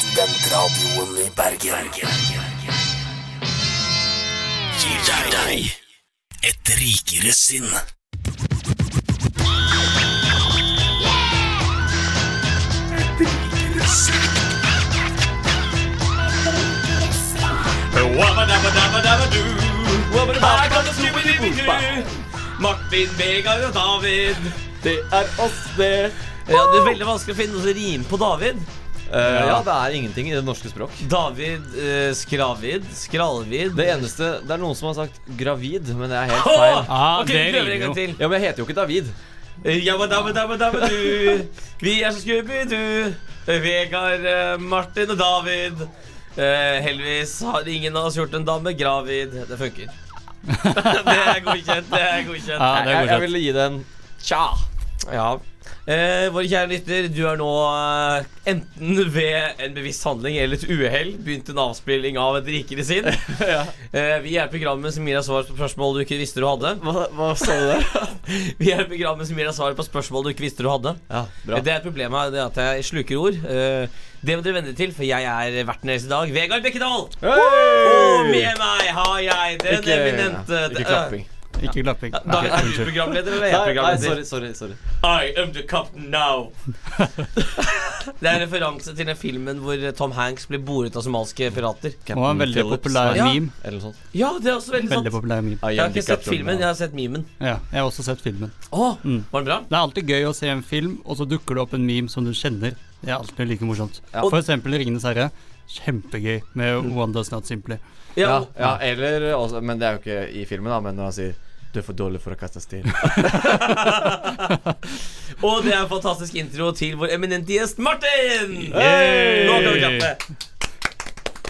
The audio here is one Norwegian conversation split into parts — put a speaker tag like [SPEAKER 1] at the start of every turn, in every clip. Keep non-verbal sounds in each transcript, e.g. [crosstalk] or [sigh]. [SPEAKER 1] Studentradioen i Bergen. Gir deg- deg et rikere sinn.
[SPEAKER 2] Wabba-dabba-dabba-dabba-doo. Her kommer Scooby-Doo. Martin, Vegard og David.
[SPEAKER 3] Det er oss, det.
[SPEAKER 2] Ja, det er veldig vanskelig å finne noe som rimer på David.
[SPEAKER 3] Eh, ja. det er ingenting i det norske språk.
[SPEAKER 2] David, eh, Skravid, Skralvid
[SPEAKER 3] Det eneste Det er noen som har sagt gravid, men det er helt feil.
[SPEAKER 2] Åh!
[SPEAKER 4] Ah,
[SPEAKER 2] Ok,
[SPEAKER 4] det
[SPEAKER 2] vi prøver
[SPEAKER 4] rimer
[SPEAKER 2] en gang
[SPEAKER 4] jo.
[SPEAKER 2] til.
[SPEAKER 3] Ja, men jeg heter jo ikke David.
[SPEAKER 2] Eh, Jabba-dabba-dabba-dabba-doo. Vi er så Scooby-Doo. Eh, Vegard, eh, Martin og David. Eh, heldigvis har ingen av oss gjort en dame gravid. Det funker. [laughs] det er godkjent. Ah, Det er godkjent.
[SPEAKER 3] Jeg,
[SPEAKER 4] Ja, det er
[SPEAKER 3] jeg
[SPEAKER 4] godkjent.
[SPEAKER 3] ville gi den tja.
[SPEAKER 2] Ja. Eh, våre kjære lytter, du er nå eh, enten ved en bevisst handling eller et uhell begynt en avspilling av Et rikere
[SPEAKER 3] [laughs]
[SPEAKER 2] sinn. eh, vi er programmet som gir deg svar på spørsmål du ikke visste du hadde.
[SPEAKER 3] Hva, hva sa du der?
[SPEAKER 2] Vi er programmet som gir deg svar på spørsmål du ikke visste du hadde.
[SPEAKER 3] Ja, bra.
[SPEAKER 2] Det er et problem her, det er at jeg sluker ord. Eh, det må dere venne dere til, for jeg er verten deres i dag, Vegard Bekkedal. Og med meg har jeg den
[SPEAKER 3] Ikke-
[SPEAKER 2] eminente
[SPEAKER 3] Ikke klapping.
[SPEAKER 4] Ikke klapping.
[SPEAKER 2] Eh, David, er du
[SPEAKER 4] unnskyld.
[SPEAKER 2] programleder, eller er jeg
[SPEAKER 3] Nei, nei,
[SPEAKER 2] programleder?
[SPEAKER 3] sorry, sorry. sorry
[SPEAKER 2] I am the captain now. [laughs] det er en referanse til den filmen hvor eh, Tom Hanks blir boret av somaliske pirater.
[SPEAKER 4] Det var en veldig
[SPEAKER 3] Phillips,
[SPEAKER 4] populær
[SPEAKER 3] nei,
[SPEAKER 4] meme.
[SPEAKER 3] Eller noe sånt.
[SPEAKER 2] Ja, det er også veldig sant.
[SPEAKER 4] Veldig populær meme.
[SPEAKER 3] I
[SPEAKER 2] Jeg har
[SPEAKER 3] am the
[SPEAKER 2] ikke sett
[SPEAKER 3] captain mm.
[SPEAKER 2] filmen,
[SPEAKER 3] now.
[SPEAKER 2] jeg har sett memen.
[SPEAKER 4] Ja, jeg har også sett filmen.
[SPEAKER 2] Å, Var den bra?
[SPEAKER 4] Det er alltid gøy å se en film, og så dukker det opp en meme som du kjenner. Det er alltid like morsomt.
[SPEAKER 3] Ja. Mm.
[SPEAKER 4] For eksempel Ringenes herre. Kjempegøy med Wanda's Not Simply.
[SPEAKER 2] Ja,
[SPEAKER 3] Ja, ja, eller også, Men det er jo ikke i filmen, da. Men når han sier 'Du er for dårlig for å kaste stein'.
[SPEAKER 2] Og det er en fantastisk intro til vår eminente gjest Martin!
[SPEAKER 4] Hey!
[SPEAKER 2] Nå kan vi klappe.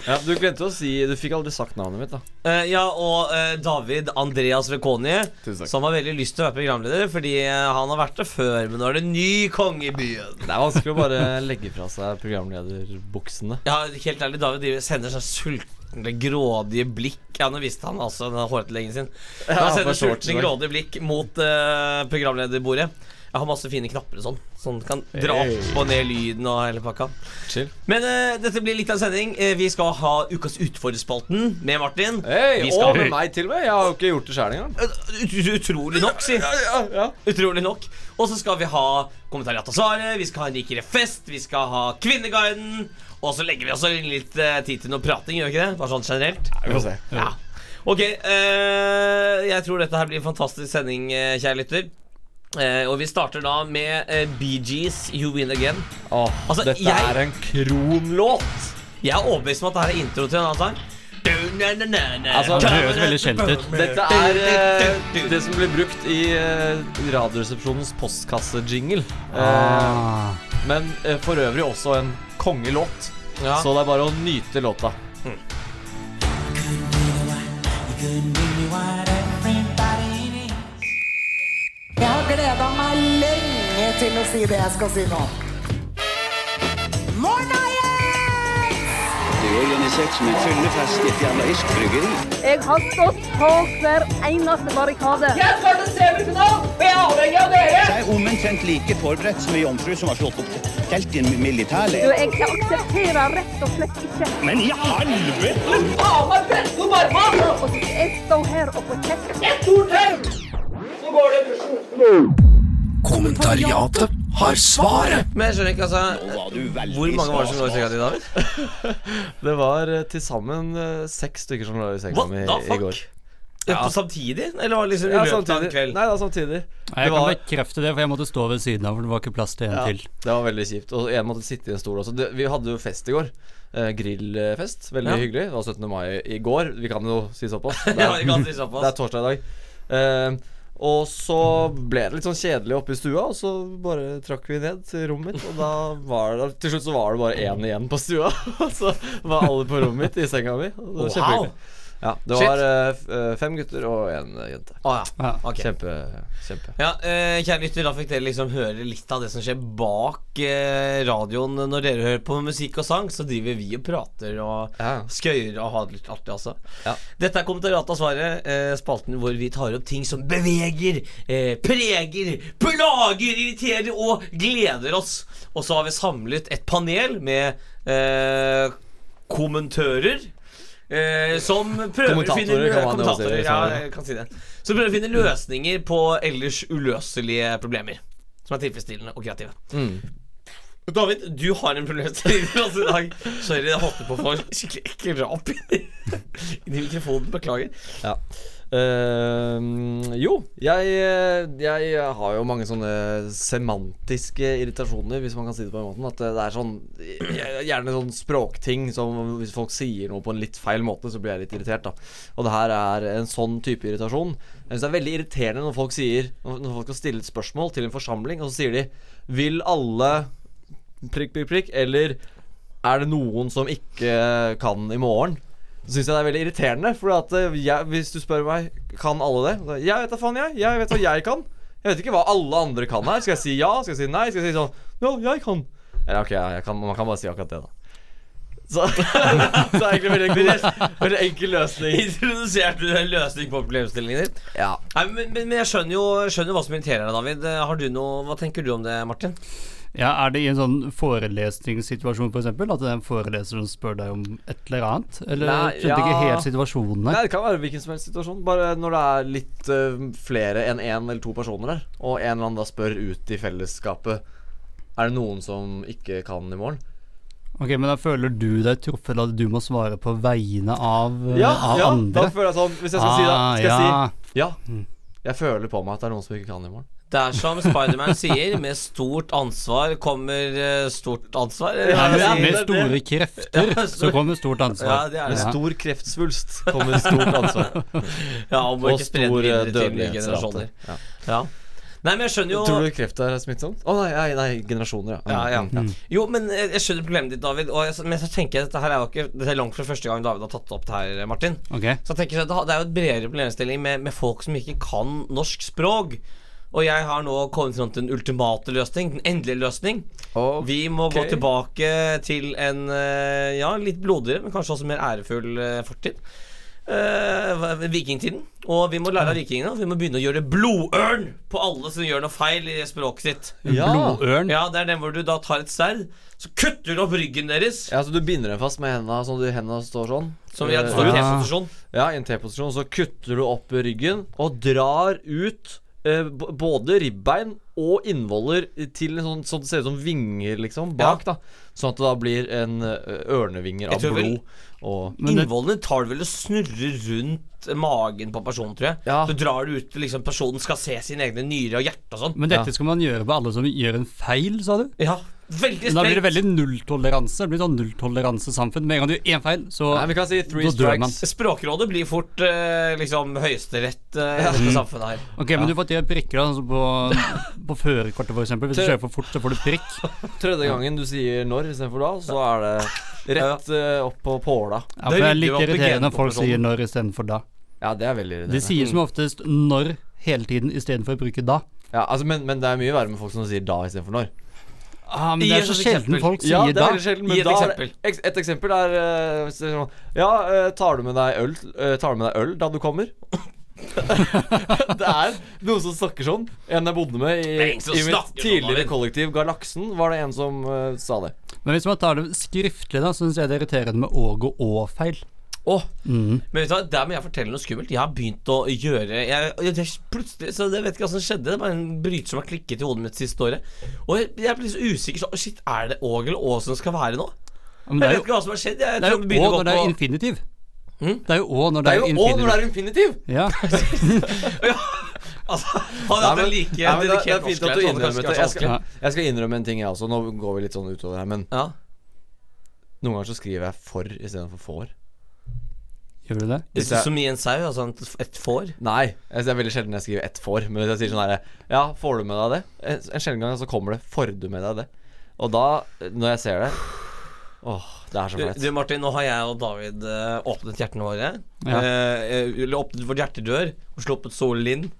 [SPEAKER 3] Ja, du glemte å si Du fikk aldri sagt navnet mitt, da.
[SPEAKER 2] Eh, ja, og eh, David Andreas Vekoni,
[SPEAKER 3] Tusen takk.
[SPEAKER 2] som har veldig lyst til å være programleder, fordi eh, han har vært det før, men nå er det ny konge i byen.
[SPEAKER 3] Det er vanskelig å bare legge fra seg programlederbuksene.
[SPEAKER 2] Ja, helt ærlig, David driver, sender sånn sultne, grådige blikk Ja, nå visste han altså den hårete sin. Men
[SPEAKER 3] Ja,
[SPEAKER 2] han sender
[SPEAKER 3] på shorts i
[SPEAKER 2] sultne,
[SPEAKER 3] dag.
[SPEAKER 2] grådige blikk mot eh, programlederbordet. Jeg har masse fine knapper og sånn, sånn kan dra opp og ned lyden og hele pakka.
[SPEAKER 3] Chill.
[SPEAKER 2] Men eh, dette blir litt av en sending. Eh, vi skal ha Ukas utfordrerspalten med Martin.
[SPEAKER 3] Hei,
[SPEAKER 2] Vi skal-
[SPEAKER 3] og med meg til og med. Jeg har jo ikke gjort det sjæl engang.
[SPEAKER 2] Eh, ut- ut- Utrolig nok, si.
[SPEAKER 3] Ja, ja.
[SPEAKER 2] Utrolig nok. Og så skal vi ha kommentariat og svaret, vi skal ha en rikere fest, vi skal ha Kvinneguiden. Og så legger vi også inn litt eh, tid til noe prating, gjør vi ikke det? Bare sånn generelt.
[SPEAKER 3] Vi får se.
[SPEAKER 2] Ja. Ok, eh, jeg tror dette her blir en fantastisk sending, eh, kjære lytter. Eh, og vi starter da med eh, Bee Gees, You Win Again.
[SPEAKER 3] Åh,
[SPEAKER 2] Altså,
[SPEAKER 3] dette
[SPEAKER 2] jeg-
[SPEAKER 3] er en kronlåt.
[SPEAKER 2] Jeg er overbevist om at dette er intro til en annen sang. Altså,
[SPEAKER 3] Altså,
[SPEAKER 4] Det høres veldig kjent ut.
[SPEAKER 3] Dette er eh, det som blir brukt i eh, Radioresepsjonens postkassejingle. Eh,
[SPEAKER 4] Ah.
[SPEAKER 3] men eh, for øvrig også en kongelåt.
[SPEAKER 2] Ja.
[SPEAKER 3] Så det er bare å nyte låta.
[SPEAKER 5] Jeg har gleda meg lenge til å si det jeg skal si nå. Morna, yes!
[SPEAKER 6] Det er organisert som en fyllefest i et jernaisk bryggeri.
[SPEAKER 7] Jeg har stått på hver eneste barrikade.
[SPEAKER 6] Jeg er omtrent like forberedt som en jomfru som har slått opp telt i en
[SPEAKER 7] Du,
[SPEAKER 6] militærleir.
[SPEAKER 7] jeg aksepterer rett og slett ikke
[SPEAKER 6] Men i helvete!
[SPEAKER 7] at jeg står her og får kjeft.
[SPEAKER 1] Kommentariatet har svaret.
[SPEAKER 2] Men jeg skjønner ikke, altså
[SPEAKER 6] Var du veldig
[SPEAKER 2] Hvor mange var det som lå i
[SPEAKER 6] stas,
[SPEAKER 2] senga di, David?
[SPEAKER 3] Det var eh, til sammen eh, seks stykker som lå i senga
[SPEAKER 2] What
[SPEAKER 3] mi
[SPEAKER 2] the
[SPEAKER 3] i
[SPEAKER 2] fuck?
[SPEAKER 3] går.
[SPEAKER 2] Ja. På samtidig? Eller var det liksom i
[SPEAKER 3] Ja,
[SPEAKER 2] løpet av en
[SPEAKER 3] samtidig.
[SPEAKER 2] kveld?
[SPEAKER 3] Nei, da, samtidig.
[SPEAKER 4] Nei, Jeg
[SPEAKER 3] Det var-
[SPEAKER 4] kan bekrefte det, for jeg måtte stå ved siden av, for det var ikke plass til en
[SPEAKER 3] Ja,
[SPEAKER 4] til.
[SPEAKER 3] det var veldig kjipt. Og en måtte sitte i en stol også. Det, vi hadde jo fest i går. Eh, grillfest. Veldig
[SPEAKER 2] Ja.
[SPEAKER 3] hyggelig. Det var 17. mai i går. Vi kan jo si såpass.
[SPEAKER 2] [laughs] [laughs]
[SPEAKER 3] Det
[SPEAKER 2] Ja,
[SPEAKER 3] er,
[SPEAKER 2] vi kan si såpass.
[SPEAKER 3] det er torsdag i dag. Eh, og så ble det litt sånn kjedelig oppe i stua, og så bare trakk vi ned til rommet mitt. Og da var det til [laughs] slutt så var det bare én igjen på stua. Og så var alle på rommet mitt i senga mi. Og det var
[SPEAKER 2] Wow.
[SPEAKER 3] kjempehyggelig. Ja, det
[SPEAKER 2] Shit.
[SPEAKER 3] var eh, f- eh, fem gutter og én jente.
[SPEAKER 2] Å ja.
[SPEAKER 4] Ja.
[SPEAKER 2] Ok.
[SPEAKER 3] Kjempe, kjempe.
[SPEAKER 2] Ja, eh, kjære lytter, da fikk dere liksom høre litt av det som skjer bak eh, radioen når dere hører på musikk og sang. Så driver vi og prater og
[SPEAKER 3] Ja.
[SPEAKER 2] skøyer og har det litt artig, altså.
[SPEAKER 3] Ja.
[SPEAKER 2] Dette er Kommentariatet av svaret, eh, spalten hvor vi tar opp ting som beveger, eh, preger, plager, irriterer og gleder oss. Og så har vi samlet et panel med eh, kommentører. Eh, som prøver å finne
[SPEAKER 3] Kommentatorer kan man jo også
[SPEAKER 2] kommentatorer,
[SPEAKER 3] si,
[SPEAKER 2] ja,
[SPEAKER 3] sa jeg.
[SPEAKER 2] jeg kan si det. Så prøver å finne løsninger på ellers uløselige problemer. Som er tilfredsstillende og kreative.
[SPEAKER 3] Mm.
[SPEAKER 2] David, du har en problemstilling til oss i dag. Sorry, jeg holdt på å få en skikkelig ekkel rap inni inni mikrofonen. Beklager.
[SPEAKER 3] Ja. Ehm, jo, jeg, eh, jeg har jo mange sånne semantiske irritasjoner, hvis man kan si det på den måten. At det er sånn Gjerne sånn språkting som hvis folk sier noe på en litt feil måte, så blir jeg litt irritert, da. Og det her er en sånn type irritasjon. Jeg syns det er veldig irriterende når folk sier Når folk skal stille et spørsmål til en forsamling, og så sier de Vil alle prikk, prikk, prikk, eller er det noen som ikke kan i morgen? Så syns jeg det er veldig irriterende, for at eh, jeg, hvis du spør meg Kan alle det, Da, jeg vet da faen, jeg. Jeg vet hva jeg kan. Jeg vet ikke hva alle andre kan her. Skal jeg si ja? Skal jeg si nei? Skal jeg si sånn Ja, jeg kan. Eller ok, ja, jeg kan, man kan bare si akkurat det, da. Så, [laughs] så er det egentlig en veldig, god- veldig enkel løsning.
[SPEAKER 2] Introduserte du en løsning på problemstillingen din?
[SPEAKER 3] Ja.
[SPEAKER 2] Nei, men, men, men jeg skjønner jo skjønner jo hva som irriterer deg, David. Eh, Har du noe, Hva tenker du om det, Martin?
[SPEAKER 4] Ja, Er det i en sånn forelesningssituasjon, f.eks.? eksempel at det er en foreleser som spør deg om et eller annet? Eller
[SPEAKER 3] Nei,
[SPEAKER 4] skjønte ikke
[SPEAKER 3] ja.
[SPEAKER 4] helt situasjonen
[SPEAKER 3] Nei,
[SPEAKER 4] der?
[SPEAKER 3] det kan være hvilken som helst situasjon. Bare når det er litt eh, flere enn én en eller to personer der, og en eller annen da spør ut i fellesskapet Er det noen som ikke kan i morgen?
[SPEAKER 4] Ok, Men da føler du deg truffet, eller at du må svare på vegne av, eh,
[SPEAKER 3] Ja,
[SPEAKER 4] av
[SPEAKER 3] ja da
[SPEAKER 4] andre?
[SPEAKER 3] føler jeg sånn Hvis jeg skal si det,
[SPEAKER 4] Ah,
[SPEAKER 3] skal jeg
[SPEAKER 4] ja.
[SPEAKER 3] si Ja. Jeg føler på meg at det er noen som ikke kan i morgen.
[SPEAKER 2] Det er som Spiderman sier, med stort ansvar kommer eh, stort ansvar. eller hva
[SPEAKER 3] Ja,
[SPEAKER 2] er det
[SPEAKER 4] Med,
[SPEAKER 2] han sier?
[SPEAKER 4] med
[SPEAKER 3] det-
[SPEAKER 4] store krefter
[SPEAKER 2] Ja,
[SPEAKER 4] så kommer stort
[SPEAKER 2] Ja,
[SPEAKER 4] ansvar.
[SPEAKER 2] det er
[SPEAKER 3] Med
[SPEAKER 2] det.
[SPEAKER 3] stor kreftsvulst kommer stort ansvar.
[SPEAKER 4] [laughs]
[SPEAKER 2] Ja, og må
[SPEAKER 3] og
[SPEAKER 2] ikke spre det
[SPEAKER 3] stor eh,
[SPEAKER 2] videre til nye
[SPEAKER 3] dødelighetsrate.
[SPEAKER 2] generasjoner.
[SPEAKER 3] Ja.
[SPEAKER 2] Ja. Nei, men jeg skjønner jo
[SPEAKER 3] Tror du kreft er smittsomt? Å nei, nei, nei, generasjoner, ja. Mm,
[SPEAKER 2] ja, ja. Jo, men jeg jeg skjønner problemet ditt, David. Og jeg, men så tenker jeg at dette her er jo ikke Dette er langt fra første gang David har tatt det opp det her, Martin.
[SPEAKER 4] Ok,
[SPEAKER 2] Så jeg tenker sånn at det har- det er jo et bredere problemstilling med, med folk som ikke kan norsk språk. Og jeg har nå kommet fram til den ultimate løsning. Den endelige løsning.
[SPEAKER 3] Ok.
[SPEAKER 2] Vi må gå tilbake til en eh, ja, litt blodigere, men kanskje også mer ærefull eh, fortid. Eh, hva- vikingtiden. Og vi må lære av vikingene. og Vi må begynne å gjøre blodørn på alle som gjør noe feil i språket sitt.
[SPEAKER 3] Ja.
[SPEAKER 4] Mm. Blodørn?
[SPEAKER 2] Ja, Det er den hvor du da tar et sverd, så kutter du opp ryggen deres.
[SPEAKER 3] Ja, så du binder dem fast med hendene, sånn at hendene står sånn?
[SPEAKER 2] Som gjør at du
[SPEAKER 3] Eh,
[SPEAKER 2] står i
[SPEAKER 4] Ja.
[SPEAKER 2] T-posisjon.
[SPEAKER 3] Ja, i en T-posisjon. Så kutter du opp ryggen og drar ut eh, b- både ribbein og innvoller til en sånn, sånn det ser ut som vinger, liksom, bak. da Sånn at det da blir en eh, ørnevinger av
[SPEAKER 2] tror vel-
[SPEAKER 3] blod. Og
[SPEAKER 4] Men det-
[SPEAKER 2] Innvollene tar du vel og snurrer rundt magen på personen, tror jeg.
[SPEAKER 3] Ja.
[SPEAKER 2] Du drar det ut til liksom, personen skal se sine egne nyrer og hjerte og sånn.
[SPEAKER 4] Men dette skal man gjøre på alle som gjør en feil, sa du?
[SPEAKER 2] Ja, veldig
[SPEAKER 4] Men Da blir det
[SPEAKER 2] strengt.
[SPEAKER 4] veldig nulltoleranse. Det blir sånn nulltoleransesamfunn. Med en gang du gjør én feil, så
[SPEAKER 3] Nei, vi kan si three
[SPEAKER 4] Da dør man.
[SPEAKER 3] strikes.
[SPEAKER 2] Språkrådet blir fort eh, liksom høyesterett eh, i
[SPEAKER 4] Mm.
[SPEAKER 2] dette samfunnet her.
[SPEAKER 4] Ok, men du får tre prikker da, sånn som på, på førerkortet, f.eks. Hvis du
[SPEAKER 3] Tre-
[SPEAKER 4] kjører for fort, så får du prikk.
[SPEAKER 3] Tredje gangen du sier når istedenfor da, så er det rett eh, opp på påla.
[SPEAKER 4] Ja,
[SPEAKER 2] Det
[SPEAKER 4] for det er
[SPEAKER 2] rydder
[SPEAKER 4] like
[SPEAKER 2] jo opp i
[SPEAKER 4] irriterende når folk
[SPEAKER 2] genpopulasjonen.
[SPEAKER 4] sier når istedenfor da.
[SPEAKER 3] Ja, det er veldig
[SPEAKER 4] De
[SPEAKER 3] irriterende.
[SPEAKER 4] sier som oftest når hele tiden istedenfor å bruke da.
[SPEAKER 3] Ja, altså, men, men det er mye verre med folk som sier da istedenfor når.
[SPEAKER 4] Ah, men
[SPEAKER 2] Gi
[SPEAKER 4] det er
[SPEAKER 2] oss
[SPEAKER 4] så
[SPEAKER 2] et eksempel.
[SPEAKER 4] sjelden folk sier
[SPEAKER 3] Ja, det
[SPEAKER 4] da.
[SPEAKER 3] er veldig sjelden,
[SPEAKER 2] Gi
[SPEAKER 3] men
[SPEAKER 2] et
[SPEAKER 3] da er
[SPEAKER 2] eksempel.
[SPEAKER 3] det- eks- Et eksempel er eh, hvis det er sånn, Ja, eh, tar du med deg øl, eh, tar du med deg øl da du kommer? det er noen som snakker sånn. En jeg bodde med i, i
[SPEAKER 2] ingen
[SPEAKER 3] mitt
[SPEAKER 2] som snakker sånn,
[SPEAKER 3] tidligere
[SPEAKER 2] David.
[SPEAKER 3] kollektiv, Galaksen, var det en som eh, sa det.
[SPEAKER 4] Men hvis man tar det skriftlig, da, syns jeg det er irriterende med åg og å-feil.
[SPEAKER 2] Åh, Men vet du hva, der må jeg fortelle noe skummelt. Jeg har begynt å gjøre jeg, jeg, Plutselig, så jeg vet ikke hva som skjedde. Det var en bryter som har klikket i hodet mitt siste året. Og jeg, jeg blir så usikker. Så, shit, er det Åg eller Å som skal være nå? Jeg
[SPEAKER 4] Men det er
[SPEAKER 2] vet
[SPEAKER 4] jo
[SPEAKER 2] ikke hva som har skjedd. Jeg,
[SPEAKER 4] det er
[SPEAKER 2] tror jeg
[SPEAKER 4] jo å
[SPEAKER 2] begynner å
[SPEAKER 4] når det
[SPEAKER 2] gå
[SPEAKER 4] er
[SPEAKER 2] på
[SPEAKER 4] infinitiv.
[SPEAKER 2] Hm?
[SPEAKER 4] Det er jo å når
[SPEAKER 3] Det
[SPEAKER 4] det
[SPEAKER 3] er
[SPEAKER 4] er
[SPEAKER 3] jo å når det
[SPEAKER 4] infinitiv.
[SPEAKER 3] er infinitiv!
[SPEAKER 4] Ja.
[SPEAKER 2] altså, Hadde jeg hatt en like
[SPEAKER 3] Nei, men det, det er
[SPEAKER 2] dedikert
[SPEAKER 3] fint at
[SPEAKER 2] norsklærer, så hadde
[SPEAKER 3] du
[SPEAKER 2] det
[SPEAKER 3] innrømmer
[SPEAKER 2] kanskje
[SPEAKER 3] det.
[SPEAKER 2] vært
[SPEAKER 3] Jeg
[SPEAKER 2] vanskelig.
[SPEAKER 3] skal, jeg skal innrømme en ting, jeg også. Nå går vi litt sånn utover her, men
[SPEAKER 2] Ja.
[SPEAKER 3] noen ganger så skriver jeg for istedenfor får.
[SPEAKER 4] Gjør du det?
[SPEAKER 3] Hvis
[SPEAKER 2] Hvis
[SPEAKER 3] jeg-
[SPEAKER 2] Som i en sau, altså en- et får.
[SPEAKER 3] Nei, jeg- det er veldig sjelden jeg skriver ett for. Men hvis jeg sier sånn her Ja, får du med deg det? En en sjelden gang så kommer det 'får du med deg det'. Og da, når jeg ser det Åh, det er så
[SPEAKER 2] Du,
[SPEAKER 3] flaut.
[SPEAKER 2] du Martin, nå har jeg og David eh, åpnet hjertene våre.
[SPEAKER 4] Ja.
[SPEAKER 2] Eh, eh, eller åpnet vårt hjertedør og sluppet solen inn.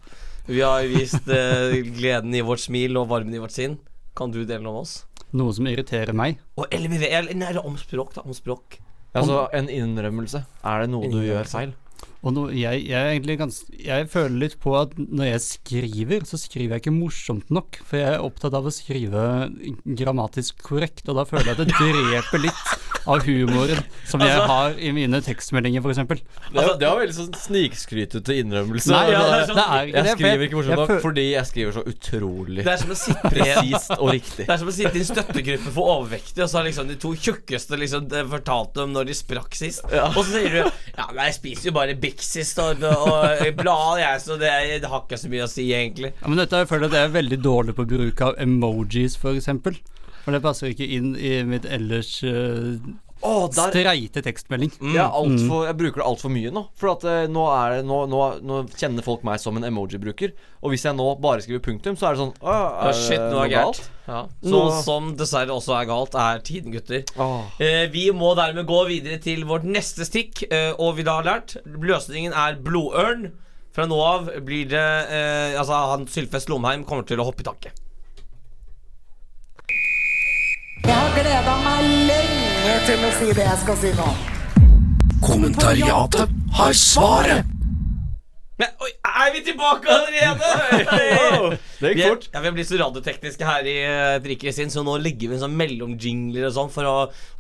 [SPEAKER 2] Vi har vist eh, gleden i vårt smil og varmen i vårt sinn. Kan du dele noe med oss?
[SPEAKER 4] Noe som irriterer meg.
[SPEAKER 2] Og LMV, eller nei, eller om språk, da. Om språk.
[SPEAKER 3] Altså, en innrømmelse. Er det noe du
[SPEAKER 2] Innrømmelse.
[SPEAKER 3] gjør feil?
[SPEAKER 4] Og nå, jeg, jeg, er egentlig gans, jeg føler litt på at når jeg skriver, så skriver jeg ikke morsomt nok. For jeg er opptatt av å skrive grammatisk korrekt, og da føler jeg at det dreper litt av humoren som jeg har i mine tekstmeldinger, f.eks.
[SPEAKER 3] Det, er- det var veldig sånn snikskrytete innrømmelse.
[SPEAKER 4] Nei, ja, det
[SPEAKER 3] det sånn-
[SPEAKER 4] er, det er ikke
[SPEAKER 3] jeg
[SPEAKER 4] det. for
[SPEAKER 3] skriver ikke morsomt
[SPEAKER 4] jeg
[SPEAKER 3] nok
[SPEAKER 4] føl-
[SPEAKER 3] fordi jeg skriver så utrolig
[SPEAKER 2] Det er som å sitte i
[SPEAKER 3] presist og riktig.
[SPEAKER 2] det er som å sitte i en støttegruppe for overvektige, og så har liksom de to tjukkeste liksom eh, fortalt om når de sprakk sist. Og så sier du Ja, nei, jeg spiser jo bare Bix sist, og, og blader, jeg, så det, er- det har ikke så mye å si, egentlig.
[SPEAKER 4] Ja, men dette har jeg følt at jeg er veldig dårlig på bruk av emojis, f.eks. For, eksempel. for det passer ikke inn i mitt ellers eh,
[SPEAKER 3] Åh, der
[SPEAKER 4] streite tekstmelding.
[SPEAKER 2] Mm,
[SPEAKER 3] jeg, er alt for, jeg bruker det altfor mye nå. For at eh, nå, er det, nå, nå, nå kjenner folk meg som en emoji-bruker. Og hvis jeg nå bare skriver punktum, så er det sånn Å,
[SPEAKER 2] Ja,
[SPEAKER 3] er
[SPEAKER 2] shit,
[SPEAKER 3] det
[SPEAKER 2] nå er
[SPEAKER 3] noe
[SPEAKER 2] galt.
[SPEAKER 3] galt?
[SPEAKER 2] Ja.
[SPEAKER 3] Så-
[SPEAKER 2] Noe som dessverre også er galt, er tiden, gutter.
[SPEAKER 3] Åh.
[SPEAKER 2] Eh, vi må dermed gå videre til vårt neste stikk, eh, og vi da har lært løsningen er blodørn. Fra nå av blir det eh, Altså, han Sylfest Lomheim kommer til å hoppe i taket.
[SPEAKER 5] Jeg har gleda meg lenge til å si det jeg skal si nå.
[SPEAKER 1] Kommentariatet har svaret!
[SPEAKER 2] Men oi, er vi tilbake allerede?! Vi
[SPEAKER 3] Det gikk
[SPEAKER 2] er,
[SPEAKER 3] fort.
[SPEAKER 2] ja, vi er blitt så radiotekniske her i eh, Drikke sin, så nå legger vi inn sånn mellomjingler og sånn for å